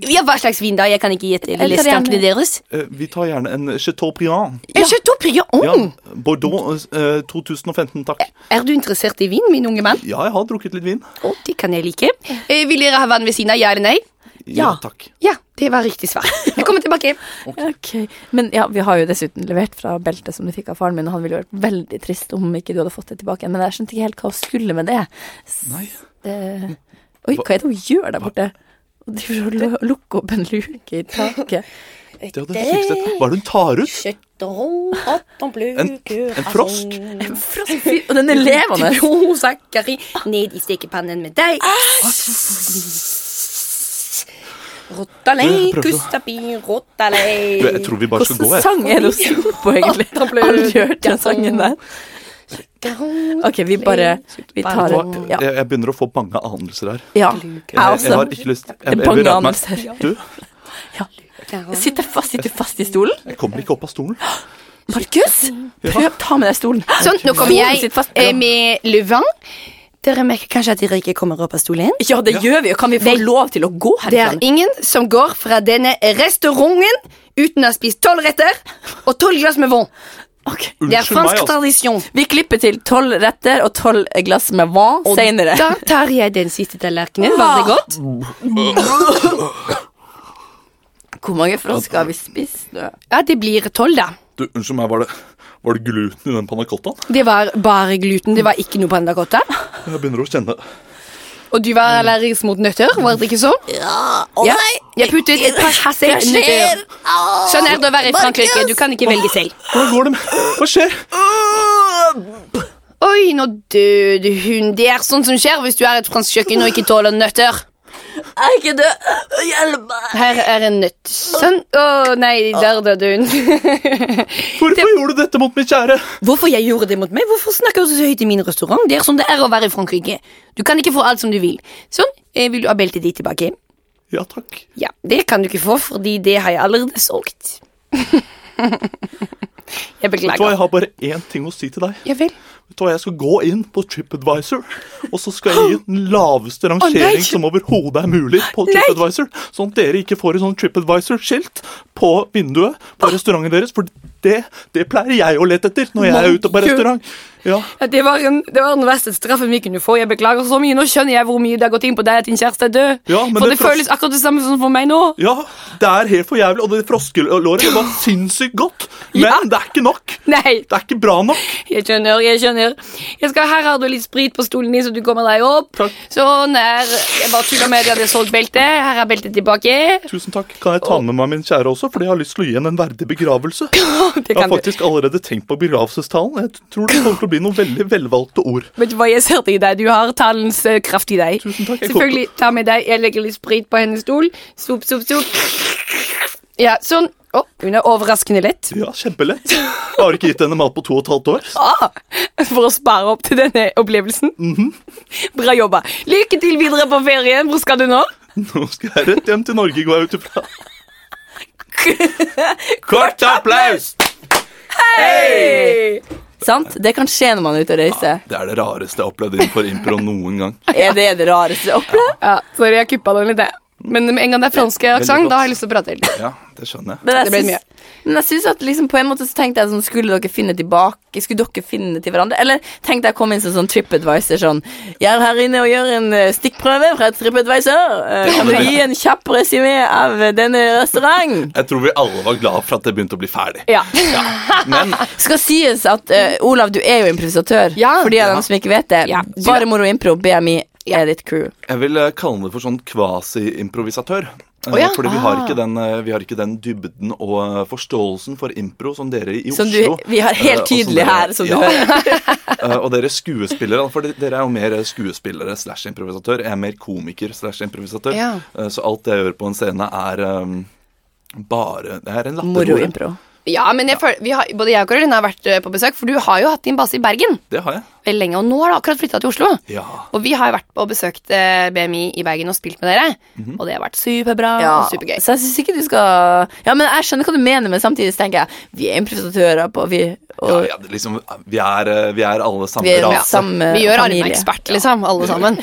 [SPEAKER 1] Ja, hva slags vin da? Jeg kan ikke gjette
[SPEAKER 2] tar
[SPEAKER 1] listestankene
[SPEAKER 2] gjerne-
[SPEAKER 1] deres.
[SPEAKER 3] Eh, vi tar gjerne en Chateaubriand.
[SPEAKER 1] Ja. Chateaubriand.
[SPEAKER 2] Mm.
[SPEAKER 3] Ja, Bordeaux eh, 2015, takk.
[SPEAKER 1] Er du interessert i vin, min unge mann?
[SPEAKER 3] Ja, jeg har drukket litt vin.
[SPEAKER 1] Å, det kan jeg like. Eh, vil dere ha vann ved siden av? Ja eller nei?
[SPEAKER 3] Ja,
[SPEAKER 2] Ja.
[SPEAKER 3] takk.
[SPEAKER 1] Ja, det var riktig svar. Jeg kommer tilbake.
[SPEAKER 2] Ok, Men ja, vi har jo dessuten levert fra beltet som du fikk av faren min, og han ville jo vært veldig trist om ikke du hadde fått det tilbake. Men jeg skjønte ikke helt hva hun skulle med det. S-
[SPEAKER 3] Nei.
[SPEAKER 2] eh, oi, hva er det hun gjør der borte? Hun driver og lu- lukker opp en luke i taket.
[SPEAKER 3] Det hadde fikset. Hva er det hun tar ut? En, en frosk?
[SPEAKER 2] Og den er levende!
[SPEAKER 1] Jo, Zakari. Ned i stekepannen med deg. Rotalei,
[SPEAKER 3] Jeg prøver å-
[SPEAKER 1] kustabi, rotalei.
[SPEAKER 3] Du, Jeg tror vi bare skal gå,
[SPEAKER 2] Hvilken
[SPEAKER 3] jeg.
[SPEAKER 2] sang er det hun synger på, egentlig? Har du hørt den sangen der? Ok, vi bare Vi tar
[SPEAKER 3] Vet
[SPEAKER 2] en
[SPEAKER 3] du hva,
[SPEAKER 2] Ja.
[SPEAKER 3] Jeg, jeg begynner å få bange anelser her.
[SPEAKER 2] ja.
[SPEAKER 3] Jeg,
[SPEAKER 2] Jeg
[SPEAKER 3] jeg har
[SPEAKER 2] også.
[SPEAKER 3] ikke lyst jeg, jeg,
[SPEAKER 2] Bange
[SPEAKER 3] vil rette meg-
[SPEAKER 2] anelser.
[SPEAKER 3] Du,
[SPEAKER 2] Sitter fast, sitter fast i stolen.
[SPEAKER 3] jeg kommer ikke opp av stolen.
[SPEAKER 2] Markus, prøv ta med deg stolen.
[SPEAKER 1] Sånn, nå kommer
[SPEAKER 2] Stolen
[SPEAKER 1] jeg
[SPEAKER 2] sitter fast.
[SPEAKER 1] eh, med Le Vin. Dere merker kanskje at dere ikke kommer opp av stolen?
[SPEAKER 2] Ja, det gjør vi, og kan vi få lov til å gå
[SPEAKER 1] Det er
[SPEAKER 2] herfra?
[SPEAKER 1] ingen som går fra denne restauranten uten å ha spist tolv retter og tolv glass med vann.
[SPEAKER 2] Ok.
[SPEAKER 1] Det er
[SPEAKER 3] Unnskyld meg,
[SPEAKER 1] fransk
[SPEAKER 3] altså.
[SPEAKER 1] tradisjon.
[SPEAKER 2] Vi klipper til tolv retter og tolv glass med vann senere.
[SPEAKER 1] Da tar jeg den siste tallerkenen. Var det godt?
[SPEAKER 2] Hvor mange frosker har vi spist nå?
[SPEAKER 1] Ja, det blir tolv, da.
[SPEAKER 3] Du, unnskyld meg, var det, var det gluten i den panna cottaen?
[SPEAKER 1] Det var bare gluten. Det var ikke noe pandacotta.
[SPEAKER 3] Jeg begynner å kjenne
[SPEAKER 1] Og du var allergisk mot nøtter, var det ikke sånn?
[SPEAKER 2] Ja.
[SPEAKER 1] Jeg puttet et par hasse nøtter. Sånn er det å være i Frankrike, du kan ikke velge selv.
[SPEAKER 3] Hvordan går det med Hva skjer?
[SPEAKER 1] Oi, nå døde hun. Det er sånt som skjer hvis du er et fransk kjøkken og ikke tåler nøtter.
[SPEAKER 2] Jeg er ikke død. Hjelp meg.
[SPEAKER 1] Her er en nøtt. Sånn. Å nei, der døde hun.
[SPEAKER 3] Hvorfor gjorde du dette mot min kjære?
[SPEAKER 1] Hvorfor jeg gjorde det mot meg? Hvorfor snakker du så høyt i min restaurant? Det er sånn det er å være i Frankrike. Du kan ikke få alt som du vil. Sånn, eh, vil du ha beltet ditt tilbake?
[SPEAKER 3] Ja takk.
[SPEAKER 1] Ja, det kan du ikke få, fordi det har jeg allerede solgt. jeg
[SPEAKER 3] Vet du hva,
[SPEAKER 1] beklager.
[SPEAKER 3] Jeg har bare én ting å si til deg.
[SPEAKER 1] Ja vel.
[SPEAKER 3] Vet du hva, Jeg skal gå inn på TripAdvisor, og så skal jeg gi den laveste rangering som overhodet er mulig på TripAdvisor, sånn at dere ikke får et sånn TripAdvisor-skilt på vinduet
[SPEAKER 1] Ah!
[SPEAKER 3] på restauranten deres, for det, det pleier jeg å lete etter når jeg er ute på restaurant. Ja,
[SPEAKER 1] Ja, Det var, en, det var den verste straffen vi kunne få. Jeg beklager så mye. Nå skjønner jeg hvor mye det har gått inn på deg at din kjæreste er død.
[SPEAKER 3] Ja, men
[SPEAKER 1] for
[SPEAKER 3] det
[SPEAKER 1] det,
[SPEAKER 3] frost-
[SPEAKER 1] føles akkurat det samme som for meg nå.
[SPEAKER 3] ja, det er helt for jævlig, og det froskelåret det var sinnssykt godt, men
[SPEAKER 1] Ja.
[SPEAKER 3] det er ikke nok.
[SPEAKER 1] Nei,
[SPEAKER 3] Det er ikke bra nok.
[SPEAKER 1] jeg skjønner, jeg skjønner. Jeg skal, her har du litt sprit på stolen din, så du kommer deg opp.
[SPEAKER 3] Takk.
[SPEAKER 1] Sånn er Jeg bare tuller med at jeg hadde solgt beltet. Her er beltet tilbake.
[SPEAKER 3] Tusen takk. Kan jeg ta med meg min kjære også, fordi jeg har lyst til å gi henne en verdig begravelse?
[SPEAKER 1] Det
[SPEAKER 3] Jeg har
[SPEAKER 1] kan du.
[SPEAKER 3] faktisk allerede tenkt på begravelsestalen. Jeg tror det kommer til å bli noen veldig velvalgte ord.
[SPEAKER 1] Vet du hva jeg ser til deg? Du har talens eh, kraft i deg.
[SPEAKER 3] Tusen takk, jeg
[SPEAKER 1] Selvfølgelig, ta med deg. Jeg legger litt sprit på hennes stol. Sop, sop, sop. Ja, sånn. Å, hun er overraskende lett.
[SPEAKER 3] Ja, kjempelett. Jeg har ikke gitt henne mat på to og et halvt år.
[SPEAKER 1] Ah, for å spare opp til denne opplevelsen.
[SPEAKER 3] Mhm.
[SPEAKER 1] Bra jobba. Lykke til videre på ferien. Hvor skal du nå?
[SPEAKER 3] Nå skal jeg rett hjem til Norge, går jeg ut ifra. Kort applaus!
[SPEAKER 1] Hey!
[SPEAKER 2] Sant? Det kan skje når man er ute og reiser.
[SPEAKER 3] Det er det rareste jeg har opplevd innenfor impro noen gang.
[SPEAKER 2] Er det det rareste jeg opplever?
[SPEAKER 1] Ja, sorry, jeg kuppa den litt. jeg. Men med en gang det er fransk aksent,
[SPEAKER 3] godt.
[SPEAKER 1] da har jeg lyst til å prate litt.
[SPEAKER 3] Ja, det skjønner jeg.
[SPEAKER 2] Men jeg
[SPEAKER 1] Det ble
[SPEAKER 2] syns- Men jeg synes at liksom på en måte så tenkte jeg sånn Skulle dere finne tilbake Skulle dere finne til hverandre Eller tenkte jeg kom inn som sånn TripAdvisor Sånn Jeg er her inne og gjør en eh, stikkprøve fra et TripAdvisor Eh, Kan du gi en kjapp resymé av eh, denne restaurant?
[SPEAKER 3] Jeg tror vi alle var glad for at det begynte å bli ferdig.
[SPEAKER 1] Ja.
[SPEAKER 3] Men
[SPEAKER 2] Skal sies at eh, Olav, du er jo improvisatør
[SPEAKER 1] Ja.
[SPEAKER 2] For de av dem som ikke vet det
[SPEAKER 1] Ja.
[SPEAKER 2] Bare moro impro, BMI er ditt crew
[SPEAKER 3] jeg vil eh, kalle det for sånn kvasi-improvisatør. Eh,
[SPEAKER 1] Å ja.
[SPEAKER 3] Fordi vi har, ikke den, eh, vi har ikke den dybden og eh, forståelsen for impro som dere i
[SPEAKER 2] Som du,
[SPEAKER 3] Oslo
[SPEAKER 2] vi har
[SPEAKER 3] eh,
[SPEAKER 2] helt
[SPEAKER 3] og som
[SPEAKER 2] tydelig
[SPEAKER 3] dere-
[SPEAKER 2] her Som du
[SPEAKER 3] Ja.
[SPEAKER 2] hører
[SPEAKER 3] Eh, og dere skuespillere, da, for de- dere er jo mer eh, skuespillere slash improvisatør. Jeg er mer komiker slash improvisatør.
[SPEAKER 1] Ja.
[SPEAKER 3] Eh, så alt jeg gjør på en scene, er um, bare Det er en
[SPEAKER 2] Moro
[SPEAKER 3] latterrolle.
[SPEAKER 2] impro
[SPEAKER 1] ja, men jeg føler, vi har, både jeg og Karoline har vært eh, på besøk, for du har jo hatt din base i Bergen
[SPEAKER 3] Det har jeg.
[SPEAKER 1] veldig lenge, og nå har du akkurat flytta til Oslo.
[SPEAKER 3] Ja.
[SPEAKER 1] Og vi har jo vært og besøkt eh, BMI i Bergen og spilt med dere,
[SPEAKER 3] Mhm.
[SPEAKER 1] og det har vært superbra
[SPEAKER 2] Ja,
[SPEAKER 1] og supergøy.
[SPEAKER 2] Så jeg synes ikke du skal Ja, men jeg skjønner hva du mener, men samtidig så tenker jeg vi er improvisatører på vi, og,
[SPEAKER 3] ja, ja det, liksom, vi, er, eh, vi er alle samme
[SPEAKER 2] vi er
[SPEAKER 3] rase.
[SPEAKER 2] samme
[SPEAKER 1] Vi gjør
[SPEAKER 2] familie.
[SPEAKER 1] Arne ekspert, liksom, alle sammen.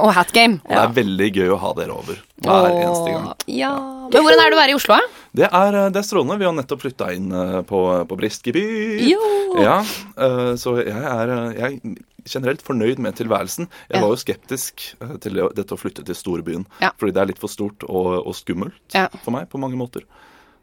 [SPEAKER 1] og Hat Game.
[SPEAKER 3] Og det er veldig gøy å ha dere over hver eneste gang.
[SPEAKER 1] Ja. Men hvordan er det å være i Oslo? da?
[SPEAKER 3] Det er, eh, det er strålende. Vi har nettopp flytta inn eh, på, på Briskeby.
[SPEAKER 1] Jo.
[SPEAKER 3] Ja, eh, så jeg er, eh, jeg er generelt fornøyd med tilværelsen. Jeg
[SPEAKER 1] Ja.
[SPEAKER 3] var jo skeptisk eh, til det- dette å flytte til storbyen.
[SPEAKER 1] Ja.
[SPEAKER 3] Fordi det er litt for stort og, og skummelt
[SPEAKER 1] Ja.
[SPEAKER 3] for meg på mange måter.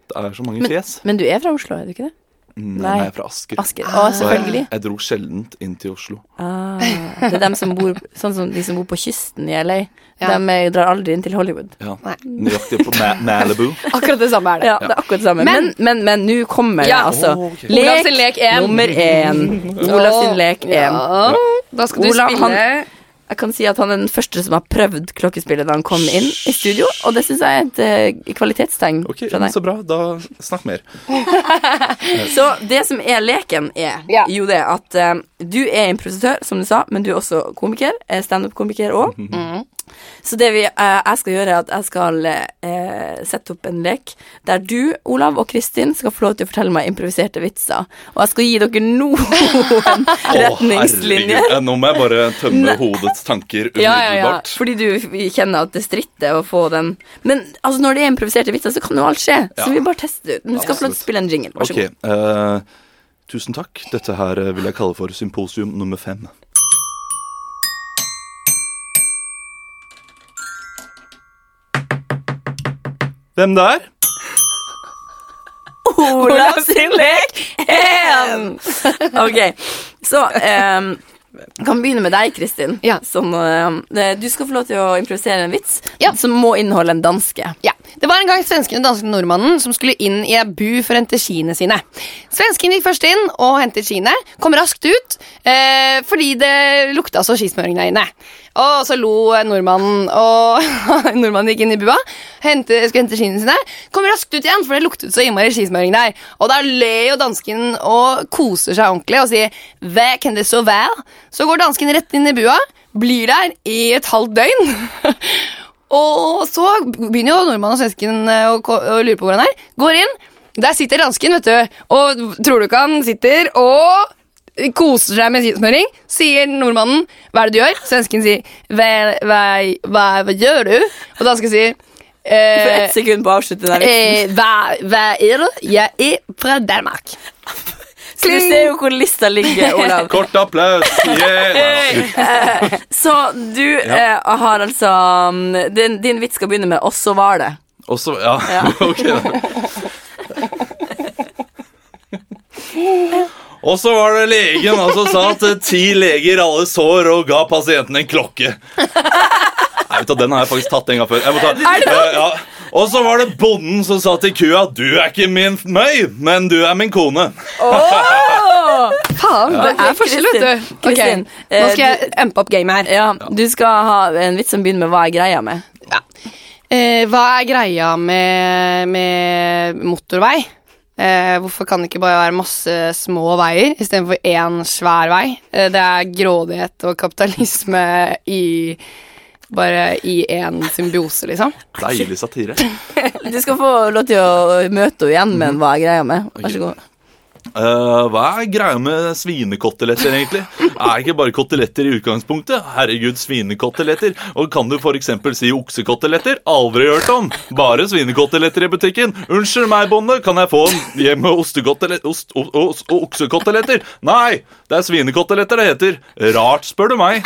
[SPEAKER 3] Det er så mange fjes.
[SPEAKER 2] Men du er fra Oslo, er du ikke det?
[SPEAKER 3] Nei,
[SPEAKER 2] nei.
[SPEAKER 3] jeg er fra Asker.
[SPEAKER 2] Asker.
[SPEAKER 1] Ah.
[SPEAKER 2] Å,
[SPEAKER 3] Så
[SPEAKER 2] selvfølgelig.
[SPEAKER 3] jeg, jeg dro sjeldent inn til Oslo.
[SPEAKER 2] Ah, det er dem som bor Sånn som de som bor på kysten i LA.
[SPEAKER 1] Ja.
[SPEAKER 2] De eh, drar aldri inn til Hollywood.
[SPEAKER 3] Ja.
[SPEAKER 1] Nei.
[SPEAKER 3] Nøyaktig på Ma Malibu.
[SPEAKER 1] Akkurat det samme er det.
[SPEAKER 2] Ja, det er akkurat det samme. Men,
[SPEAKER 1] Men-
[SPEAKER 2] men, men nå kommer det,
[SPEAKER 1] Ja.
[SPEAKER 2] altså.
[SPEAKER 3] Å, ok.
[SPEAKER 1] Olav sin lek en.
[SPEAKER 2] nummer én. Olav sin lek én.
[SPEAKER 1] Ja. Da skal du
[SPEAKER 2] Olav,
[SPEAKER 1] spille
[SPEAKER 2] han- Jeg kan si at han er den første som har prøvd klokkespillet da han kom inn i studio, og det syns jeg er et eh, kvalitetstegn
[SPEAKER 3] Ok,
[SPEAKER 2] fra deg.
[SPEAKER 3] Så bra. Da snakk mer.
[SPEAKER 2] Så det som er leken, er
[SPEAKER 1] Ja.
[SPEAKER 2] jo det at eh, du er improvisatør, som du sa, men du er også komiker. eh, Standup-komiker òg.
[SPEAKER 3] Mm.
[SPEAKER 2] Så det vi, eh, jeg skal gjøre, er at jeg skal eh, sette opp en lek der du, Olav og Kristin, skal få lov til å fortelle meg improviserte vitser. Og jeg skal gi dere noen
[SPEAKER 3] Å,
[SPEAKER 2] retningslinjer.
[SPEAKER 3] herregud. Eh, Nå må jeg bare tømme hodets tanker umiddelbart.
[SPEAKER 1] Ja, ja, ja.
[SPEAKER 2] Fordi du kjenner at det stritter å få den Men altså, når det er improviserte vitser, så kan jo alt skje.
[SPEAKER 3] Ja.
[SPEAKER 2] Så vi bare tester det ut. Men Du skal få lov til å
[SPEAKER 3] Absolutt.
[SPEAKER 2] spille en jingle. Vær så
[SPEAKER 3] Ok,
[SPEAKER 2] god.
[SPEAKER 3] eh, tusen takk. Dette her eh, vil jeg kalle for symposium nummer fem. Hvem der?
[SPEAKER 2] Olav sin lek én! Ok, så em, kan begynne med deg, Kristin.
[SPEAKER 1] Ja.
[SPEAKER 2] Sånn, eh, du skal få lov til å improvisere en vits
[SPEAKER 1] Ja.
[SPEAKER 2] som må inneholde en danske.
[SPEAKER 1] Ja, Det var en gang svensken og dansken og nordmannen som skulle inn i ei bu for å hente skiene sine. Svensken gikk først inn og hentet skiene, kom raskt ut eh, fordi det lukta så skismøring der inne. Og så lo nordmannen, og nordmannen gikk inn i bua, hente, skulle hente skiene sine, kom raskt ut igjen, for det luktet så innmari skismøring der. Og da ler jo dansken og koser seg ordentlig og sier 'Hva kan det så være?' Så går dansken rett inn i bua, blir der i et halvt døgn. Og så begynner jo nordmannen og svensken eh, å, ko- å lure på hvor han er. Går inn. Der sitter dansken, vet du. Og tror du ikke han sitter og koser seg med smøring? Sier nordmannen 'Hva er det du gjør?' Svensken sier hva, hva, hva, 'Hva gjør du?' Og dansken sier
[SPEAKER 2] For
[SPEAKER 1] eh,
[SPEAKER 2] ett sekund på å avslutte den. vitsen.
[SPEAKER 1] eh, hva, 'Hva er det? Jeg er fra Danmark'.
[SPEAKER 2] Så du ser jo hvor lista ligger, Olav.
[SPEAKER 3] Kort applaus! Yeah!
[SPEAKER 2] Så du eh, har altså mm, din, din vits skal begynne med 'og så var det'.
[SPEAKER 3] Og så Ja,
[SPEAKER 2] Ja.
[SPEAKER 3] ok. Og så var det legen og som sa at eh, ti leger alle sår og ga pasienten en klokke. Nei, vet du, Den har jeg faktisk tatt en gang før. Jeg må ta, Eh, ja. Og så var det bonden som sa til kua Du er ikke min møy, men du er min kone.
[SPEAKER 1] Faen, det
[SPEAKER 2] Ok,
[SPEAKER 1] er forskjell, vet du.
[SPEAKER 2] Eh, Kristin,
[SPEAKER 1] Ok,
[SPEAKER 2] Kristin,
[SPEAKER 1] Nå
[SPEAKER 2] eh,
[SPEAKER 1] skal jeg ampe opp gamet her.
[SPEAKER 2] Ja, Du skal ha en vits som begynner med 'hva er greia med'?
[SPEAKER 1] Ja. Eh, hva er greia med, med motorvei? Eh, hvorfor kan det ikke bare være masse små veier istedenfor én svær vei? Eh, det er grådighet og kapitalisme i bare i én symbiose, liksom.
[SPEAKER 3] Deilig satire.
[SPEAKER 2] Du skal få lov til å møte henne igjen
[SPEAKER 1] Mhm.
[SPEAKER 2] med en 'hva er greia med'. Vær så god.
[SPEAKER 3] Eh, hva er greia med svinekoteletter, egentlig? Er ikke bare koteletter i utgangspunktet? Herregud, svinekoteletter. Og kan du f.eks. si oksekoteletter? Aldri hørt om. Bare svinekoteletter i butikken. Unnskyld meg, bonde, kan jeg få en hjem med ostekoteletter ost, o- o- og oksekoteletter? Nei, det er svinekoteletter det heter. Rart, spør du meg.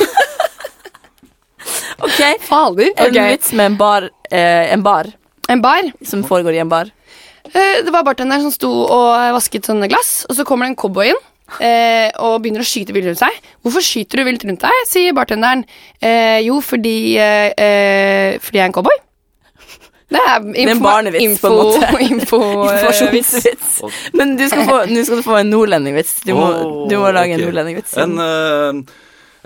[SPEAKER 2] Ok,
[SPEAKER 1] Fader.
[SPEAKER 2] En
[SPEAKER 1] ok.
[SPEAKER 2] vits med en bar, eh, en bar
[SPEAKER 1] En bar.
[SPEAKER 2] som foregår i en bar.
[SPEAKER 1] Eh, Det var bartenderen som sto og vasket sånne glass, og så kommer det en cowboy inn. Eh, og begynner å skyte vilt rundt seg. 'Hvorfor skyter du vilt rundt deg?' sier bartenderen. Eh, jo, fordi eh, eh, Fordi jeg er en cowboy. Det er, info,
[SPEAKER 2] er en barnevits,
[SPEAKER 1] info,
[SPEAKER 2] på en måte.
[SPEAKER 1] Info, eh,
[SPEAKER 2] Informasjonsvits. Men du skal få, nå skal du få en nordlendingvits. Du må,
[SPEAKER 3] Åh,
[SPEAKER 2] du må lage en
[SPEAKER 3] ok.
[SPEAKER 2] nordlendingvits.
[SPEAKER 3] En, eh,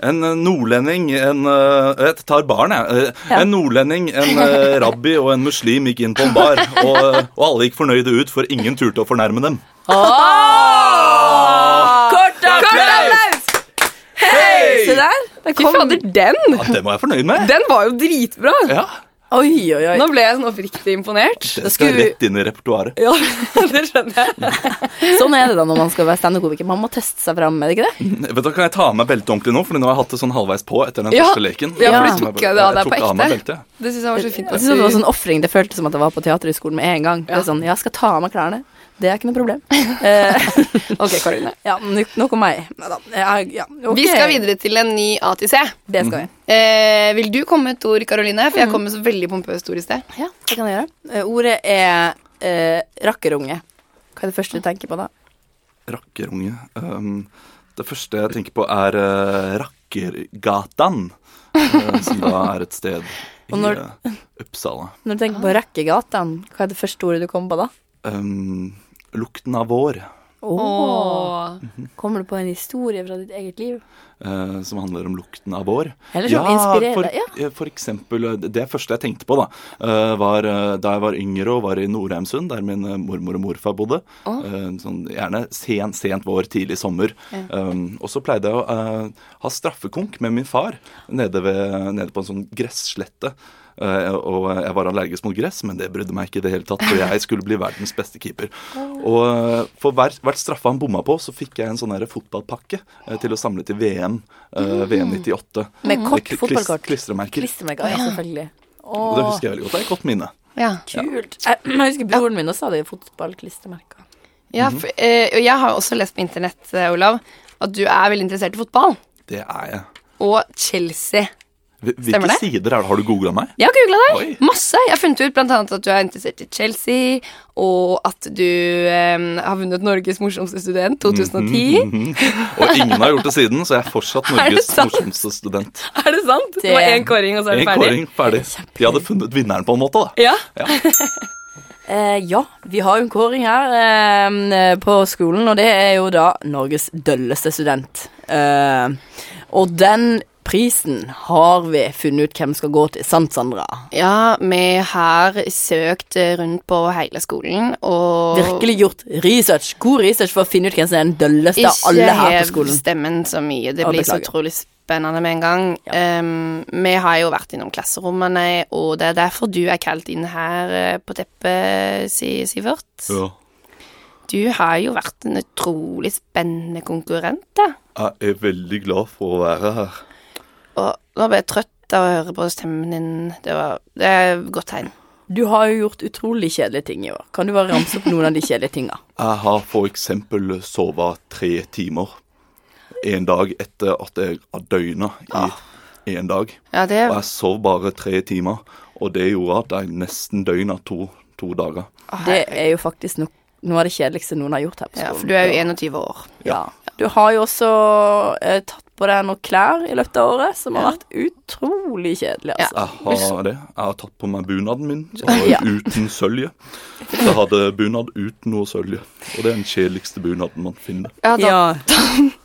[SPEAKER 3] en nordlending en, eh, Jeg tar barn, jeg. Eh,
[SPEAKER 2] Ja.
[SPEAKER 3] En nordlending, en eh, rabbi og en muslim gikk inn på en bar, og, eh, og alle gikk fornøyde ut, for ingen turte å fornærme dem.
[SPEAKER 2] Kort applaus!
[SPEAKER 3] Hei!
[SPEAKER 2] Se der. Der
[SPEAKER 1] Fy
[SPEAKER 2] kom
[SPEAKER 1] fader, den!
[SPEAKER 3] Ja, det var jeg fornøyd med.
[SPEAKER 1] Den var jo dritbra!
[SPEAKER 3] Ja,
[SPEAKER 2] Oi, oi, oi.
[SPEAKER 1] Nå ble jeg sånn oppriktig imponert.
[SPEAKER 3] Det skal
[SPEAKER 2] skulle-
[SPEAKER 3] rett inn i repertoaret.
[SPEAKER 1] Ja, det skjønner jeg.
[SPEAKER 2] Sånn er det da når man skal være standup-komiker. Man må teste seg fram, er det ikke det?
[SPEAKER 3] Vet du, hva, Kan jeg ta av meg beltet ordentlig nå? Fordi nå har jeg hatt det sånn halvveis på etter den
[SPEAKER 1] Ja.
[SPEAKER 3] første leken.
[SPEAKER 1] Ja, for
[SPEAKER 2] Ja.
[SPEAKER 1] du tok jeg det av deg
[SPEAKER 3] tok
[SPEAKER 1] på
[SPEAKER 3] av meg
[SPEAKER 1] ekte.
[SPEAKER 3] beltet.
[SPEAKER 1] Det syns jeg var så fint.
[SPEAKER 2] Jeg
[SPEAKER 1] at
[SPEAKER 2] synes det var
[SPEAKER 1] du-
[SPEAKER 2] sånn offring. Det føltes som at jeg var på teaterhøgskolen med en gang. Det er sånn, ja, skal ta av meg klærne. Det er ikke noe problem. Eh,
[SPEAKER 1] Ok, Karoline.
[SPEAKER 2] ja, nok nok om meg. Nei da, jeg- ja, ok.
[SPEAKER 1] Vi skal videre til en ny A til C.
[SPEAKER 2] Det skal vi.
[SPEAKER 1] Eh, vil du komme med et ord, Karoline? For jeg
[SPEAKER 2] Mhm.
[SPEAKER 1] kom med så veldig pompøst ord i sted.
[SPEAKER 2] Ja, det kan jeg gjøre. Eh, ordet er eh, rakkerunge. Hva er det første du tenker på da?
[SPEAKER 3] Rakkerunge. Um, det første jeg tenker på, er eh, Rakkergatan. eh, som da er et sted i
[SPEAKER 2] Og når-
[SPEAKER 3] eh, Uppsala.
[SPEAKER 2] Når du tenker på rakkergatan, hva er det første ordet du kommer på da?
[SPEAKER 3] Um, lukten av vår,
[SPEAKER 2] Kommer du på en historie fra ditt eget liv?
[SPEAKER 3] eh, som handler om lukten av vår.
[SPEAKER 2] Eller som inspirerer
[SPEAKER 3] for,
[SPEAKER 2] deg, ja.
[SPEAKER 3] eh, for eksempel, eh, det første jeg tenkte på da, eh, var eh, da jeg var yngre og var i Nordheimsund, der min eh, mormor og morfar bodde. Eh, sånn, gjerne sen, sent vår, tidlig sommer. Um, og så pleide jeg å eh, ha straffekonk med min far nede, ved, nede på en sånn gresslette. Eh, og jeg var allergisk mot gress, men det brydde meg ikke i det hele tatt, for jeg skulle bli verdens beste keeper. Og eh, for hver, hvert straffe han bomma på, så fikk jeg en sånn her fotballpakke eh, til å samle til VM. eh, VM 98.
[SPEAKER 2] Med
[SPEAKER 3] Eh,
[SPEAKER 2] kort
[SPEAKER 3] kli- klis-
[SPEAKER 2] fotballkort.
[SPEAKER 3] Klistremerker.
[SPEAKER 2] Mm. Klistremerker, ja, selvfølgelig.
[SPEAKER 3] Og det husker jeg veldig godt. Det er et godt minne.
[SPEAKER 1] Ja.
[SPEAKER 2] Kult. Jeg, jeg husker broren min også hadde fotballklistremerker.
[SPEAKER 1] Ja,
[SPEAKER 3] Mhm.
[SPEAKER 1] for, eh, og jeg har også lest på internett, eh, Olav, at du er veldig interessert i fotball.
[SPEAKER 3] Det er jeg.
[SPEAKER 1] Og Chelsea.
[SPEAKER 3] Hvil-
[SPEAKER 1] Stemmer
[SPEAKER 3] Hvilke sider er det? Har du googla meg?
[SPEAKER 1] Jeg har googla deg.
[SPEAKER 3] Oi.
[SPEAKER 1] Masse. Jeg har funnet ut blant annet at du er interessert i Chelsea, og at du em, har vunnet Norges morsomste student 2010.
[SPEAKER 3] Mhm. Og ingen har gjort det siden, så jeg er fortsatt
[SPEAKER 1] det
[SPEAKER 3] Norges
[SPEAKER 1] sant?
[SPEAKER 3] morsomste student.
[SPEAKER 1] Er det sant? Det,
[SPEAKER 2] Det-
[SPEAKER 1] var én kåring, og så er
[SPEAKER 3] En
[SPEAKER 1] du ferdig?
[SPEAKER 3] kåring, ferdig. De hadde funnet vinneren, på en måte. da
[SPEAKER 1] Ja.
[SPEAKER 2] Eh, ja, vi har jo en kåring her eh, på skolen, og det er jo da Norges dølleste student. Eh, og den prisen har vi funnet ut hvem skal gå til. Sant, Sandra?
[SPEAKER 1] ja, vi har søkt eh, rundt på hele skolen, og
[SPEAKER 2] Virkelig gjort research. God research for å finne ut hvem som er den dølleste av alle her på skolen.
[SPEAKER 1] stemmen så mye. Det
[SPEAKER 2] Å,
[SPEAKER 1] blir så
[SPEAKER 2] beklager.
[SPEAKER 1] utrolig spennende med en gang. Em, vi har jo vært innom klasserommene, og det er derfor du er kalt inn her eh, på teppet, Si- Sivert. Du har jo vært en utrolig spennende konkurrent, da.
[SPEAKER 3] Jeg er veldig glad for å være her.
[SPEAKER 1] Og nå ble jeg trøtt av å høre på stemmen din. Det, var, det er et godt tegn.
[SPEAKER 2] Du har jo gjort utrolig kjedelige ting i år. Kan du bare ramse opp noen av de kjedelige tinga?
[SPEAKER 3] Jeg har for eksempel sovet tre timer en dag etter at jeg har døgna i
[SPEAKER 1] Ah.
[SPEAKER 3] en dag.
[SPEAKER 1] Ja, det
[SPEAKER 3] Og jeg sov bare tre timer, og det gjorde at jeg nesten døgna to, to dager.
[SPEAKER 2] Det er jo faktisk no noe av det kjedeligste noen har gjort her på
[SPEAKER 1] ja,
[SPEAKER 2] skolen.
[SPEAKER 1] For du er jo 21 år.
[SPEAKER 2] Ja. Du har jo også eh, tatt på deg noen klær i løpet av året som har vært utrolig kjedelig, altså.
[SPEAKER 3] Jeg har det. Jeg har tatt på meg bunaden min, så har jeg uten sølje. Jeg hadde bunad uten noe sølje, og det er den kjedeligste bunaden man finner.
[SPEAKER 1] Ja, da,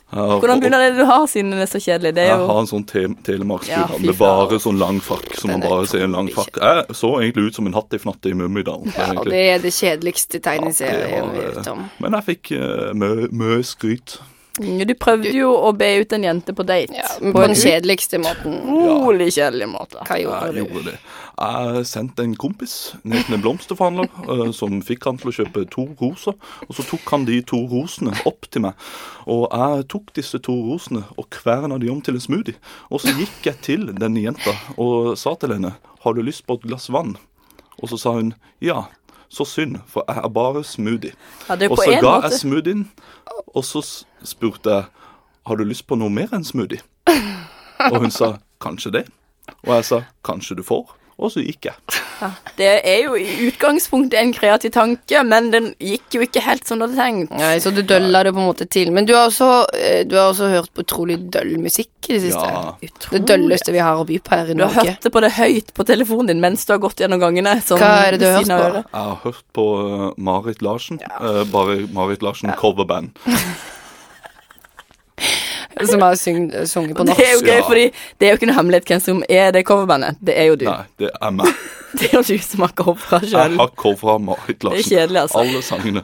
[SPEAKER 2] Ah.
[SPEAKER 3] Jeg har-
[SPEAKER 2] Hvordan bunad er det du har siden den er så kjedelig? Det er
[SPEAKER 3] Jeg
[SPEAKER 2] jo
[SPEAKER 3] har en sånn te telemarksbunad
[SPEAKER 2] Ja, fy
[SPEAKER 3] med
[SPEAKER 2] faen.
[SPEAKER 3] bare sånn lang frakk, så man
[SPEAKER 1] Den er
[SPEAKER 3] bare ser en lang
[SPEAKER 1] utrolig
[SPEAKER 3] frakk. Jeg så egentlig ut som en hatt i fnatt i Mummidalen.
[SPEAKER 1] og
[SPEAKER 3] egentlig.
[SPEAKER 1] det er det kjedeligste
[SPEAKER 3] Ja,
[SPEAKER 1] tegneserien
[SPEAKER 3] det
[SPEAKER 1] vi
[SPEAKER 3] var,
[SPEAKER 1] vet om.
[SPEAKER 3] eh, Men jeg fikk eh, mø- mø skryt.
[SPEAKER 2] Mm, Du prøvde jo å be ut en jente på date.
[SPEAKER 1] Ja, men på den kjedeligste måten.
[SPEAKER 2] Utrolig kjedelig måte.
[SPEAKER 1] Hva gjorde
[SPEAKER 3] Jeg
[SPEAKER 1] du?
[SPEAKER 3] gjorde det. Jeg sendte en kompis ned til en blomsterforhandler eh, som fikk han til å kjøpe to roser. Og så tok han de to rosene opp til meg. Og jeg tok disse to rosene og kverna de om til en smoothie. Og så gikk jeg til denne jenta og sa til henne har du lyst på et glass vann. Og så sa hun ja. Så synd, for jeg er bare smoothie.
[SPEAKER 2] Ja, det er
[SPEAKER 3] og
[SPEAKER 2] på
[SPEAKER 3] så
[SPEAKER 2] en
[SPEAKER 3] ga
[SPEAKER 2] måte-
[SPEAKER 3] jeg smoothien, og så s- spurte jeg har du lyst på noe mer enn smoothie. Og hun sa kanskje det. Og jeg sa kanskje du får. Og så gikk jeg.
[SPEAKER 2] Det er jo i utgangspunktet en kreativ tanke, men den gikk jo ikke helt som du hadde tenkt.
[SPEAKER 1] Nei, så du dølla det på en måte til. Men du har også, eh, du har også hørt på utrolig døll musikk i det siste.
[SPEAKER 3] Ja.
[SPEAKER 1] Det dølleste vi har å by på her i
[SPEAKER 2] Du har
[SPEAKER 1] Norge.
[SPEAKER 2] hørt det på det høyt på telefonen din mens du har gått gjennom gangene. sånn
[SPEAKER 1] Hva er det du
[SPEAKER 2] ved
[SPEAKER 1] har
[SPEAKER 2] siden
[SPEAKER 1] hørt på?
[SPEAKER 2] av øret.
[SPEAKER 3] Jeg har hørt på eh, Marit Larsen. eh, bare Marit Larsen coverband.
[SPEAKER 1] Som har syng, sunget på
[SPEAKER 2] Det er jo
[SPEAKER 1] norsk.
[SPEAKER 2] gøy,
[SPEAKER 3] Ja.
[SPEAKER 2] fordi det er jo ikke noe hemmelighet hvem som er det coverbandet. Det er jo du.
[SPEAKER 3] Nei, det er meg.
[SPEAKER 2] Det er jo du som har covra
[SPEAKER 3] Jeg
[SPEAKER 2] sjøl.
[SPEAKER 3] har covra Marit Larsen.
[SPEAKER 2] Det er kjedelig, altså.
[SPEAKER 3] Alle sangene.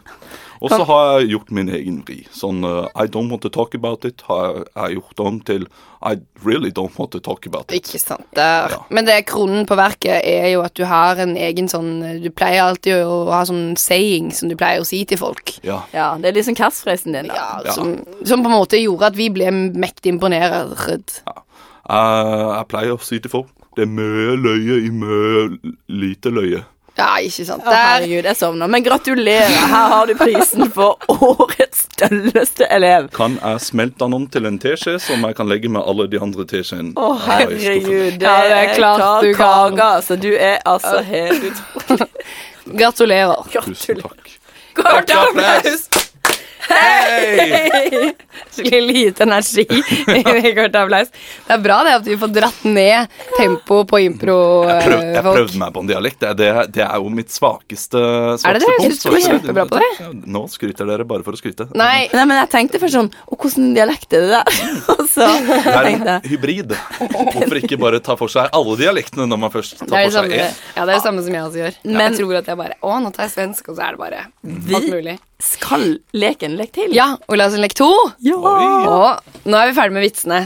[SPEAKER 3] Og så har jeg gjort min egen vri. Sånn eh, I Don't Want To Talk About It har jeg- jeg har gjort om til I Really Don't Want To Talk About It.
[SPEAKER 1] Ikke sant. Det er,
[SPEAKER 3] Ja.
[SPEAKER 1] Men det kronen på verket er jo at du har en egen sånn Du pleier alltid å ha sånn saying som du pleier å si til folk.
[SPEAKER 3] Ja.
[SPEAKER 2] Ja, det er liksom catchphrasen din. da.
[SPEAKER 1] Ja,
[SPEAKER 3] Ja.
[SPEAKER 1] Som, som på en måte gjorde at vi ble mektig imponert.
[SPEAKER 3] ja. Jeg, Eh, jeg pleier å si til folk det er mye løye i mye lite løye.
[SPEAKER 1] Ja, ikke sant.
[SPEAKER 2] Å,
[SPEAKER 1] Der
[SPEAKER 2] herregud, jeg sovner. Men gratulerer. Her har du prisen for årets dølleste elev.
[SPEAKER 3] Kan jeg smelte den om til en teskje som jeg kan legge med alle de andre teskjeene?
[SPEAKER 2] Å, herregud. Det
[SPEAKER 1] Ja, det er
[SPEAKER 2] er
[SPEAKER 1] klart
[SPEAKER 2] klar
[SPEAKER 1] du kan.
[SPEAKER 2] kake. Altså, du er altså helt utrolig.
[SPEAKER 1] Gratulerer.
[SPEAKER 3] Tusen takk.
[SPEAKER 2] Kort applaus.
[SPEAKER 3] Hei!
[SPEAKER 2] Skikkelig lite energi. Kort applaus.
[SPEAKER 1] Det er bra det at vi får dratt ned tempoet på
[SPEAKER 3] Jeg, prøv, jeg
[SPEAKER 1] impro-folk.
[SPEAKER 3] prøvde meg på en dialekt. Det, det, det er jo mitt svakeste svakeste
[SPEAKER 1] Er det det? Jeg
[SPEAKER 3] punkt,
[SPEAKER 1] synes du er
[SPEAKER 3] så-
[SPEAKER 1] kjempebra på det.
[SPEAKER 3] Ja, Nå skryter dere bare for å skryte.
[SPEAKER 1] Nei,
[SPEAKER 2] Nei, men jeg tenkte først sånn Å, hvordan dialekt er det der? Og så
[SPEAKER 3] Det er
[SPEAKER 2] tenkte
[SPEAKER 3] en
[SPEAKER 2] jeg
[SPEAKER 3] hybrid. Hvorfor ikke bare ta for seg alle dialektene når man
[SPEAKER 1] det
[SPEAKER 3] først
[SPEAKER 1] er
[SPEAKER 3] tar
[SPEAKER 1] det
[SPEAKER 3] for seg
[SPEAKER 1] samme,
[SPEAKER 3] én?
[SPEAKER 1] ja, det er det samme som jeg også gjør.
[SPEAKER 2] Men-
[SPEAKER 1] jeg tror at jeg bare Å, nå tar jeg svensk, og så er det bare alt mulig.
[SPEAKER 2] Skal leken leke til?
[SPEAKER 1] Ja, Ola sin lek to.
[SPEAKER 3] Oi.
[SPEAKER 1] Og nå er vi ferdig med vitsene.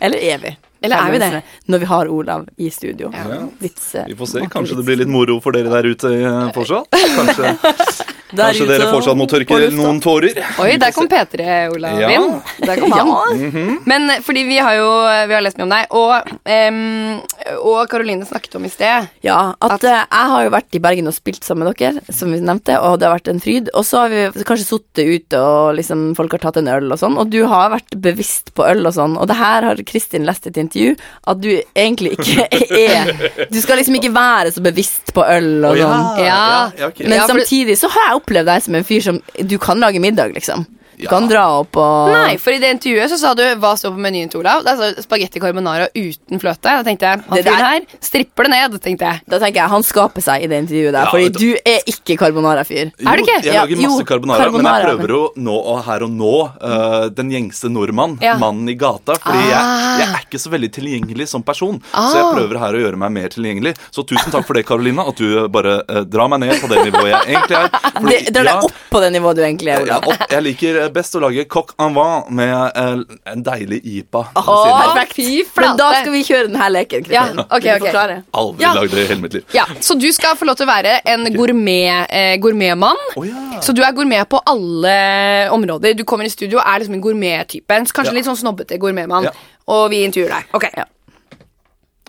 [SPEAKER 2] Eller er vi?
[SPEAKER 1] Eller er vi det?
[SPEAKER 2] Når vi har Olav i studio. eh,
[SPEAKER 3] Ja.
[SPEAKER 2] Vitse.
[SPEAKER 3] Vi får se. Kanskje det blir litt moro for dere der ute eh, fortsatt. Kanskje,
[SPEAKER 2] Der
[SPEAKER 3] kanskje
[SPEAKER 2] ute
[SPEAKER 3] dere fortsatt må
[SPEAKER 2] på
[SPEAKER 3] tørke
[SPEAKER 2] lufta.
[SPEAKER 3] noen tårer.
[SPEAKER 1] Oi, der kom P3, Olav
[SPEAKER 3] Ja.
[SPEAKER 1] eh, inn. Der kom han. Men eh, fordi vi har jo vi har lest mye om deg, og em, og Karoline snakket om i sted.
[SPEAKER 2] Ja, at eh, jeg har jo vært i Bergen og spilt sammen med dere, som vi nevnte, og det har vært en fryd. Og så har vi kanskje sittet ute, og liksom folk har tatt en øl og sånn, og du har vært bevisst på øl og sånn, og det her har Kristin lest i et intervju, at du egentlig ikke er Du skal liksom ikke være så bevisst på øl og sånn.
[SPEAKER 1] Ja.
[SPEAKER 3] ja, ok.
[SPEAKER 2] Men
[SPEAKER 1] Ja, for det-
[SPEAKER 2] samtidig så har jeg opplevd deg som en fyr som Du kan lage middag, liksom. Du
[SPEAKER 3] Ja.
[SPEAKER 2] kan dra opp og
[SPEAKER 1] Nei, for i det intervjuet så sa du hva står på menyen til Olav. Der står spagetti carbonara uten fløte. Da tenkte jeg, han
[SPEAKER 2] Det der-
[SPEAKER 1] fyren her stripper det ned, tenkte jeg.
[SPEAKER 2] Da tenker jeg han skaper seg i det intervjuet der,
[SPEAKER 3] Ja,
[SPEAKER 2] fordi
[SPEAKER 3] vet du-
[SPEAKER 2] du er ikke carbonara-fyr.
[SPEAKER 3] Jo,
[SPEAKER 1] Er det ikke?
[SPEAKER 3] Jeg
[SPEAKER 2] Ja,
[SPEAKER 3] lager masse
[SPEAKER 2] jo,
[SPEAKER 3] carbonara, men
[SPEAKER 2] carbonara,
[SPEAKER 3] jeg prøver å nå og her og nå eh, den gjengse nordmann,
[SPEAKER 1] Ja.
[SPEAKER 3] mannen i gata, fordi
[SPEAKER 1] Ah.
[SPEAKER 3] jeg, jeg er ikke så veldig tilgjengelig som person. Så jeg
[SPEAKER 1] Ah.
[SPEAKER 3] prøver her å gjøre meg mer tilgjengelig. Så tusen takk for det, Karolina, at du bare eh, drar meg ned på det nivået jeg egentlig er. Fordi-
[SPEAKER 2] Det- Dra
[SPEAKER 3] ja,
[SPEAKER 2] deg opp på det nivået du egentlig er.
[SPEAKER 3] ja,
[SPEAKER 2] Olav.
[SPEAKER 3] opp. Jeg liker eh, best å lage coq en vin med eh, en deilig IPA. ved
[SPEAKER 2] Åh,
[SPEAKER 3] siden av.
[SPEAKER 2] perfekt.
[SPEAKER 1] fy flate.
[SPEAKER 2] Men da skal vi kjøre denne leken. Kristin.
[SPEAKER 1] Ja, ok,
[SPEAKER 2] Vi får
[SPEAKER 1] ok.
[SPEAKER 2] klare.
[SPEAKER 3] Aldri
[SPEAKER 1] Ja.
[SPEAKER 3] lagd det i hele mitt liv.
[SPEAKER 1] Ja, Så du skal få lov til å være en gourmet, eh, gourmetmann.
[SPEAKER 3] Å, ja.
[SPEAKER 1] Så du er gourmet på alle områder. Du kommer i studio og er liksom en gourmettype. En Kanskje
[SPEAKER 3] Ja.
[SPEAKER 1] litt sånn snobbete gourmetmann.
[SPEAKER 3] Ja.
[SPEAKER 1] Og vi intervjuer deg. Ok,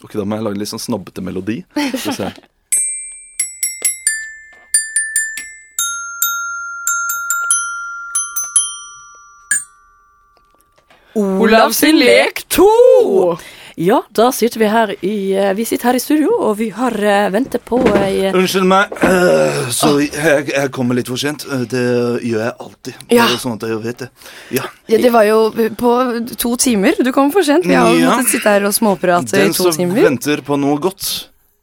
[SPEAKER 3] Ok, Da må jeg lage litt sånn snobbete melodi. Skal vi se.
[SPEAKER 2] Olav sin lek 2! Ja, da sitter vi her i eh, Vi sitter her i studio, og vi har eh, ventet på ei
[SPEAKER 3] Unnskyld meg. Eh, Sorry, jeg, jeg kommer litt for sent. Eh, Det gjør jeg alltid.
[SPEAKER 1] Ja.
[SPEAKER 3] Bare sånn at jeg vet det. Ja.
[SPEAKER 1] Ja, det var jo på to timer. Du kom for sent. Vi har jo
[SPEAKER 3] Ja.
[SPEAKER 1] måttet sitte her og småprate i
[SPEAKER 3] Den
[SPEAKER 1] to
[SPEAKER 3] som
[SPEAKER 1] timer.
[SPEAKER 3] venter på noe godt,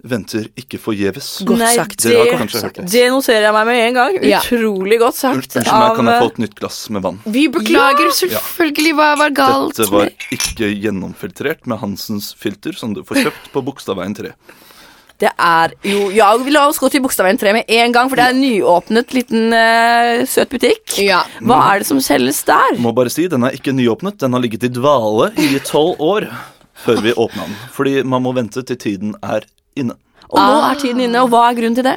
[SPEAKER 3] venter ikke forgjeves.
[SPEAKER 1] Godt sagt.
[SPEAKER 2] Det,
[SPEAKER 3] Dere har kanskje hørt det.
[SPEAKER 2] det noterer jeg meg med en gang.
[SPEAKER 1] Ja.
[SPEAKER 2] Utrolig godt
[SPEAKER 3] Un-
[SPEAKER 2] sagt.
[SPEAKER 3] Unnskyld meg, kan jeg
[SPEAKER 2] av,
[SPEAKER 3] få et nytt glass med vann?
[SPEAKER 1] Vi beklager selvfølgelig hva var galt.
[SPEAKER 3] Dette var ikke gjennomfiltrert med Hansens filter, som du får kjøpt på Bogstadveien 3.
[SPEAKER 2] eh, Det er jo Ja, vi la oss gå til Bogstadveien 3 med en gang, for det er en nyåpnet liten eh, søt butikk.
[SPEAKER 1] Ja.
[SPEAKER 2] Hva er det som selges der?
[SPEAKER 3] Må bare si, den er ikke nyåpnet. Den har ligget i dvale i tolv år før vi åpna den. Fordi man må vente til tiden er inne.
[SPEAKER 2] Og nå er tiden inne, og hva er grunnen til det?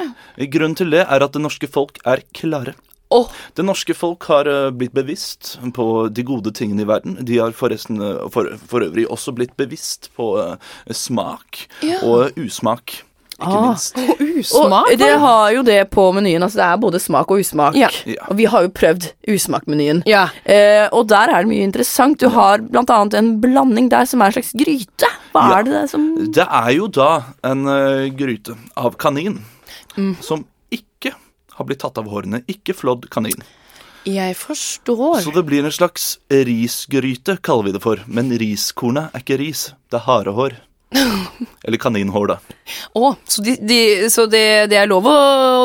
[SPEAKER 3] Grunnen til det er at det norske folk er klare.
[SPEAKER 2] Åh.
[SPEAKER 3] Det norske folk har eh, blitt bevisst på de gode tingene i verden. De har forresten eh, for, for øvrig også blitt bevisst på eh, smak og usmak, ikke
[SPEAKER 2] Ah.
[SPEAKER 3] minst.
[SPEAKER 1] Usmak?
[SPEAKER 2] Og det har jo det på menyen. Altså det er både smak og usmak.
[SPEAKER 1] Ja.
[SPEAKER 3] Ja.
[SPEAKER 2] Og vi har jo prøvd usmakmenyen.
[SPEAKER 1] Ja.
[SPEAKER 2] Eh, og der er det mye interessant. Du har blant annet en blanding der som er en slags gryte. Hva
[SPEAKER 3] Ja.
[SPEAKER 2] er det som
[SPEAKER 3] Det er jo da en eh, gryte av kanin
[SPEAKER 1] Mm.
[SPEAKER 3] som ikke har blitt tatt av hårene. Ikke flådd kanin.
[SPEAKER 1] Jeg forstår.
[SPEAKER 3] Så det blir en slags risgryte, kaller vi det for. Men riskornet er ikke ris, det er harehår. Eller kaninhår, da.
[SPEAKER 1] Å, så de, de, så det, det er lov å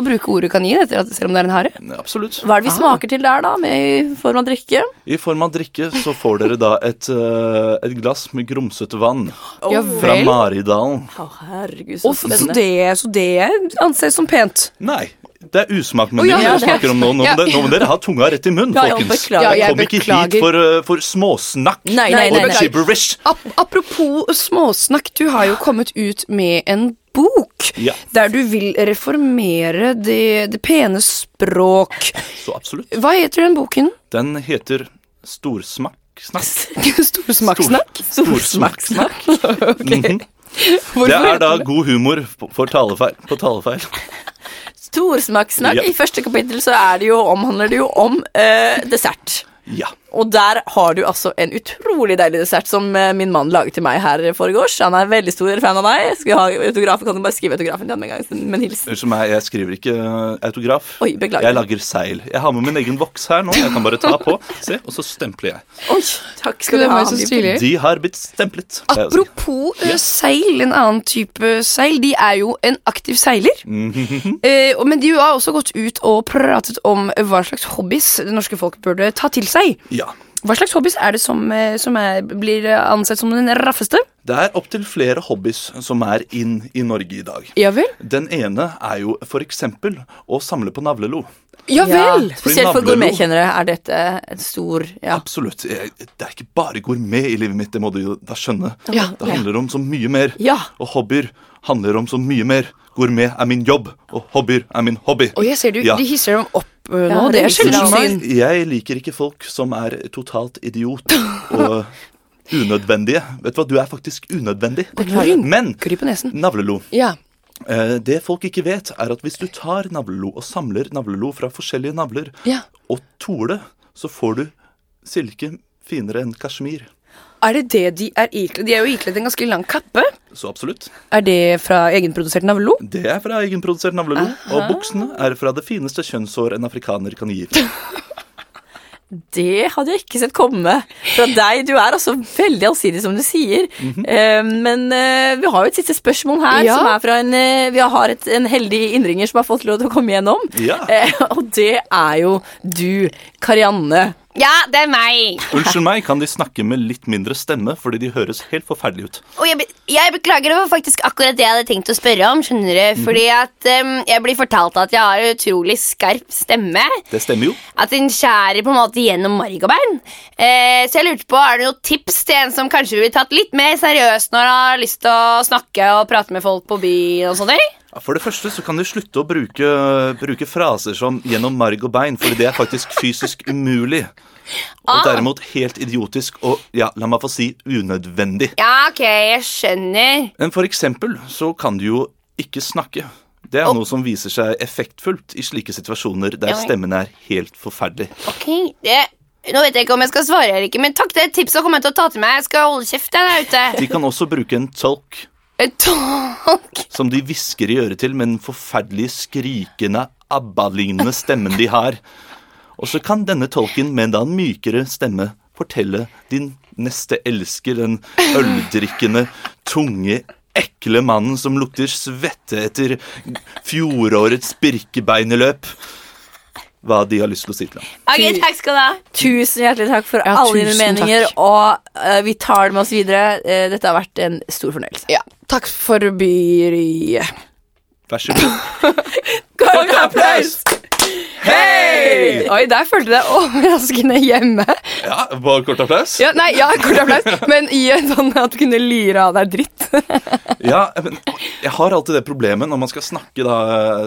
[SPEAKER 1] bruke ordet kanin etter at, selv om det er en hare?
[SPEAKER 3] Absolutt.
[SPEAKER 2] Hva er det vi smaker til der, da? Med i form av drikke?
[SPEAKER 3] I form av drikke så får dere da et, eh, et glass med grumsete vann
[SPEAKER 1] Ja
[SPEAKER 3] fra
[SPEAKER 1] vel.
[SPEAKER 3] Maridalen.
[SPEAKER 2] Å, herregud,
[SPEAKER 1] Å,
[SPEAKER 2] så
[SPEAKER 1] så, så,
[SPEAKER 2] spennende.
[SPEAKER 1] det, så det anses som pent.
[SPEAKER 3] Nei, det er
[SPEAKER 1] Å,
[SPEAKER 3] usmakmenyen
[SPEAKER 1] ja,
[SPEAKER 3] dere
[SPEAKER 1] det-
[SPEAKER 3] snakker om nå. Nå,
[SPEAKER 1] Ja.
[SPEAKER 3] må dere- nå må dere ha tunga rett i munnen,
[SPEAKER 2] Ja, ja,
[SPEAKER 3] folkens.
[SPEAKER 2] beklager.
[SPEAKER 1] Ja, jeg
[SPEAKER 3] Kom ikke
[SPEAKER 1] beklager.
[SPEAKER 3] hit for, eh, for småsnakk
[SPEAKER 2] Nei, nei, nei,
[SPEAKER 3] og
[SPEAKER 2] nei.
[SPEAKER 3] gibberish.
[SPEAKER 1] Ap apropos småsnakk, du har jo kommet ut med en bok
[SPEAKER 3] Ja.
[SPEAKER 1] der du vil reformere det, det pene språk.
[SPEAKER 3] Så absolutt.
[SPEAKER 1] Hva heter den boken?
[SPEAKER 3] Den heter Storsmakk. Snakk.
[SPEAKER 1] Storsmakssnakk?
[SPEAKER 3] Storsmakksnakk. Mhm. Det
[SPEAKER 1] Hvorfor
[SPEAKER 3] er da
[SPEAKER 1] heter den
[SPEAKER 3] god humor på- for talefeil. På talefeil.
[SPEAKER 2] Storsmakssnakk.
[SPEAKER 3] Ja.
[SPEAKER 2] I første kapittel så er det jo, omhandler det jo om eh, dessert.
[SPEAKER 3] Ja.
[SPEAKER 2] Og der har du altså en utrolig deilig dessert som eh, min mann laget til meg her foregårs. Han er veldig stor fan av meg. Skal jeg ha autograf, kan du bare skrive autografen til ham en gang. Men hilsen.
[SPEAKER 3] Unnskyld meg, jeg skriver ikke eh, autograf.
[SPEAKER 2] Oi, beklager.
[SPEAKER 3] Jeg lager seil. Jeg har med min egen voks her nå. Jeg kan bare ta på, se, og så stempler jeg.
[SPEAKER 2] Oi,
[SPEAKER 1] Skal
[SPEAKER 2] takk skal
[SPEAKER 1] det
[SPEAKER 2] du ha.
[SPEAKER 1] være så
[SPEAKER 2] Hanne.
[SPEAKER 1] stilig?
[SPEAKER 3] De har blitt stemplet. pleier jeg å si.
[SPEAKER 1] Apropos eh, seil, en annen type seil. De er jo en aktiv seiler. Eh, og- men de har også gått ut og pratet om eh, hva slags hobbies det norske folk burde ta til seg.
[SPEAKER 3] Ja.
[SPEAKER 1] Hva slags hobbies er det som, eh, som er, blir eh, ansett som den raffeste?
[SPEAKER 3] Det er opptil flere hobbies som er inn i Norge i dag.
[SPEAKER 1] Ja vel?
[SPEAKER 3] Den ene er jo f.eks. å samle på navlelo.
[SPEAKER 1] Ja
[SPEAKER 2] Ja,
[SPEAKER 1] vel!
[SPEAKER 2] spesielt for
[SPEAKER 3] Fordi navlelo-
[SPEAKER 2] gourmetkjennere er dette en stor ja.
[SPEAKER 3] Absolutt. Jeg, det er ikke bare gourmet i livet mitt, det må du jo da skjønne.
[SPEAKER 1] Ja.
[SPEAKER 3] det handler om så mye mer.
[SPEAKER 2] Ja.
[SPEAKER 3] Og hobbyer handler om så mye mer. Gourmet er min jobb, og hobbyer er min hobby.
[SPEAKER 1] Og jeg ser du,
[SPEAKER 3] Ja.
[SPEAKER 1] De hisser dem opp eh,
[SPEAKER 2] Ja,
[SPEAKER 1] nå.
[SPEAKER 2] det
[SPEAKER 1] Det er
[SPEAKER 2] hisser dem opp.
[SPEAKER 1] sjelden syn.
[SPEAKER 3] Jeg liker ikke folk som er totalt idiot. Og Unødvendige. Vet du hva, du er faktisk unødvendig.
[SPEAKER 1] Beklager.
[SPEAKER 3] Men
[SPEAKER 1] Kryp på nesen.
[SPEAKER 3] navlelo.
[SPEAKER 1] Ja.
[SPEAKER 3] Eh, Det folk ikke vet, er at hvis du tar navlelo og samler navlelo fra forskjellige navler,
[SPEAKER 1] Ja.
[SPEAKER 3] og tåler det, så får du silke finere enn kasjmir.
[SPEAKER 1] Er det det de er
[SPEAKER 5] Ikle- De er jo ikledd en ganske lang kappe.
[SPEAKER 3] Så absolutt.
[SPEAKER 1] Er det fra egenprodusert navlo?
[SPEAKER 3] Det er fra egenprodusert navlelo. Og buksene er fra det fineste kjønnshår en afrikaner kan gi.
[SPEAKER 2] Det hadde jeg ikke sett komme fra deg. Du er altså veldig allsidig, som du sier. Eh, men eh, vi har jo et siste spørsmål her,
[SPEAKER 1] Ja.
[SPEAKER 2] som er fra en eh, Vi har et, en heldig innringer som har fått lov til å komme gjennom.
[SPEAKER 3] Ja.
[SPEAKER 2] Eh, og det er jo du, Karianne.
[SPEAKER 5] Ja, det er meg.
[SPEAKER 3] Unnskyld meg, kan de snakke med litt mindre stemme fordi de høres helt forferdelige ut?
[SPEAKER 5] Og jeg, be- jeg beklager, det var faktisk akkurat det jeg hadde tenkt å spørre om. skjønner du? Fordi at em, jeg blir fortalt at jeg har utrolig skarp stemme.
[SPEAKER 3] Det stemmer jo.
[SPEAKER 5] At den skjærer på en måte gjennom margobæren. Eh, så jeg lurte på, er det noen tips til en som kanskje blir tatt litt mer seriøst når han har lyst til å snakke og prate med folk på byen og sånn, sånne ting?
[SPEAKER 3] Ja, For det første så kan du slutte å bruke, bruke fraser som 'gjennom marg og bein', fordi det er faktisk fysisk umulig. Og derimot helt idiotisk og ja, la meg få si unødvendig.
[SPEAKER 5] Ja, ok, jeg skjønner.
[SPEAKER 3] Men for eksempel så kan du jo ikke snakke. Det er noe som viser seg effektfullt i slike situasjoner der stemmen er helt forferdelig.
[SPEAKER 5] Ok, det... Nå vet jeg ikke om jeg skal svare eller ikke, men takk, det er et tips som kommer jeg til å ta til meg. Jeg skal holde kjeft jeg, der ute.
[SPEAKER 3] De kan også bruke en tolk
[SPEAKER 5] Eh, Takk.
[SPEAKER 3] som de hvisker i øret til med den forferdelige, skrikende, ABBA-lignende stemmen de har. Og så kan denne tolken med en da mykere stemme fortelle din neste elsker, den øldrikkende, tunge, ekle mannen som lukter svette etter fjorårets birkebeineløp, hva de har lyst til å si til ham.
[SPEAKER 5] Ok, takk skal du ha.
[SPEAKER 2] Tusen hjertelig takk for
[SPEAKER 1] Ja,
[SPEAKER 2] alle dine
[SPEAKER 1] tusen takk.
[SPEAKER 2] meninger, og eh, vi tar det med oss videre. Eh, dette har vært en stor fornøyelse.
[SPEAKER 1] Ja. Takk for byriet.
[SPEAKER 3] Vær så god.
[SPEAKER 2] Kort applaus!
[SPEAKER 1] Hei! Oi, der følte jeg deg overraskende hjemme.
[SPEAKER 3] Ja, bare kort applaus.
[SPEAKER 1] Ja, nei, ja, kort applaus, men i en sånn at du kunne lire av deg dritt.
[SPEAKER 3] Ja, men jeg har alltid det problemet når man skal snakke da,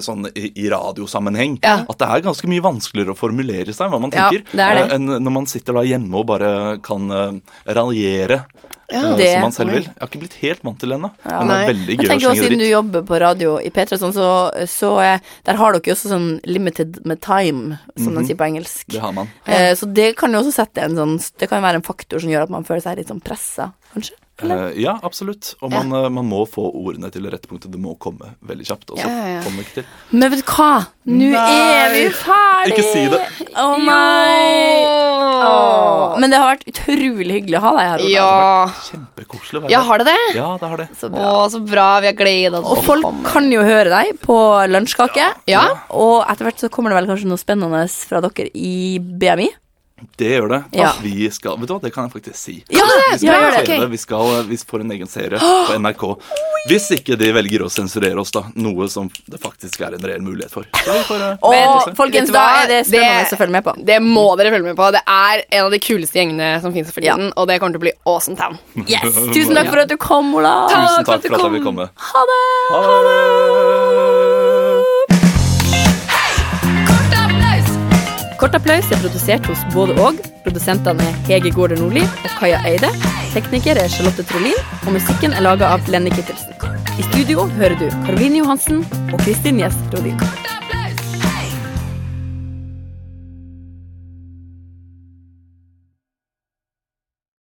[SPEAKER 3] sånn i, i radiosammenheng,
[SPEAKER 1] Ja.
[SPEAKER 3] at det er ganske mye vanskeligere å formulere seg hva man
[SPEAKER 1] Ja,
[SPEAKER 3] tenker,
[SPEAKER 1] det er det.
[SPEAKER 3] eh, enn når man sitter da hjemme og bare kan eh, raljere eh,
[SPEAKER 1] det-
[SPEAKER 3] som man selv vil. Jeg har ikke blitt helt vant til det ennå. men det
[SPEAKER 1] nei.
[SPEAKER 3] er veldig
[SPEAKER 2] Jeg
[SPEAKER 3] gøy å
[SPEAKER 2] tenker også
[SPEAKER 3] slenge
[SPEAKER 2] Siden du
[SPEAKER 3] dritt.
[SPEAKER 2] jobber på radio i P3, og sånn, så, så eh, der har dere jo også sånn limited med time, som de sier på engelsk.
[SPEAKER 3] Mhm. Det har man.
[SPEAKER 2] Eh, Så det kan jo også sette en sånn Det kan jo være en faktor som gjør at man føler seg litt sånn pressa, kanskje.
[SPEAKER 3] Eh, ja, absolutt. Og man, eh, man må få ordene til det rette punktet. Det må komme veldig kjapt. Og så kommer det ikke til.
[SPEAKER 2] Men vet du hva? Nå er vi ferdig!
[SPEAKER 3] Ikke si det.
[SPEAKER 2] Å nei! Åh. Men det har vært utrolig hyggelig å ha deg her. Ola.
[SPEAKER 1] Ja.
[SPEAKER 3] Kjempekoselig å være
[SPEAKER 1] ja, har det det?
[SPEAKER 3] der. Ja, det har det.
[SPEAKER 2] Så
[SPEAKER 1] Å,
[SPEAKER 2] bra.
[SPEAKER 1] så bra. Vi har gledet oss.
[SPEAKER 2] Og folk kan jo høre deg på lunsjkake.
[SPEAKER 1] Ja.
[SPEAKER 2] Og etter hvert så kommer det vel kanskje noe spennende fra dere i BMI.
[SPEAKER 3] Det gjør det.
[SPEAKER 2] Ja.
[SPEAKER 3] At vi skal Vet du hva, det kan jeg faktisk si.
[SPEAKER 2] Ja,
[SPEAKER 3] Vi skal
[SPEAKER 2] ja,
[SPEAKER 3] ha
[SPEAKER 2] gjør det.
[SPEAKER 3] serie, vi, skal, vi får en egen serie på NRK. Hvis ikke de velger å sensurere oss, da. Noe som det faktisk er en reell mulighet for. Så vi får, eh,
[SPEAKER 2] Og
[SPEAKER 1] Vet
[SPEAKER 2] folkens,
[SPEAKER 1] du
[SPEAKER 2] da
[SPEAKER 1] hva?
[SPEAKER 2] er det spennende å følge med på.
[SPEAKER 1] Det må dere følge med på. Det er en av de kuleste gjengene som finnes for
[SPEAKER 2] Ja.
[SPEAKER 1] tiden, og det kommer til å bli awesome town.
[SPEAKER 2] Yes, Tusen takk for at du kom, Ola.
[SPEAKER 3] Tusen takk for at jeg fikk komme.
[SPEAKER 2] Ha det!
[SPEAKER 3] Ha det!
[SPEAKER 2] Kort applaus er produsert hos både og. Produsentene er Hege Gaarder Nordli og Kaja Eide. Tekniker er Charlotte Trolin, og musikken er laga av Lenny Kittelsen. I studio hører du Karoline Johansen og Kristin Gjest Rodin.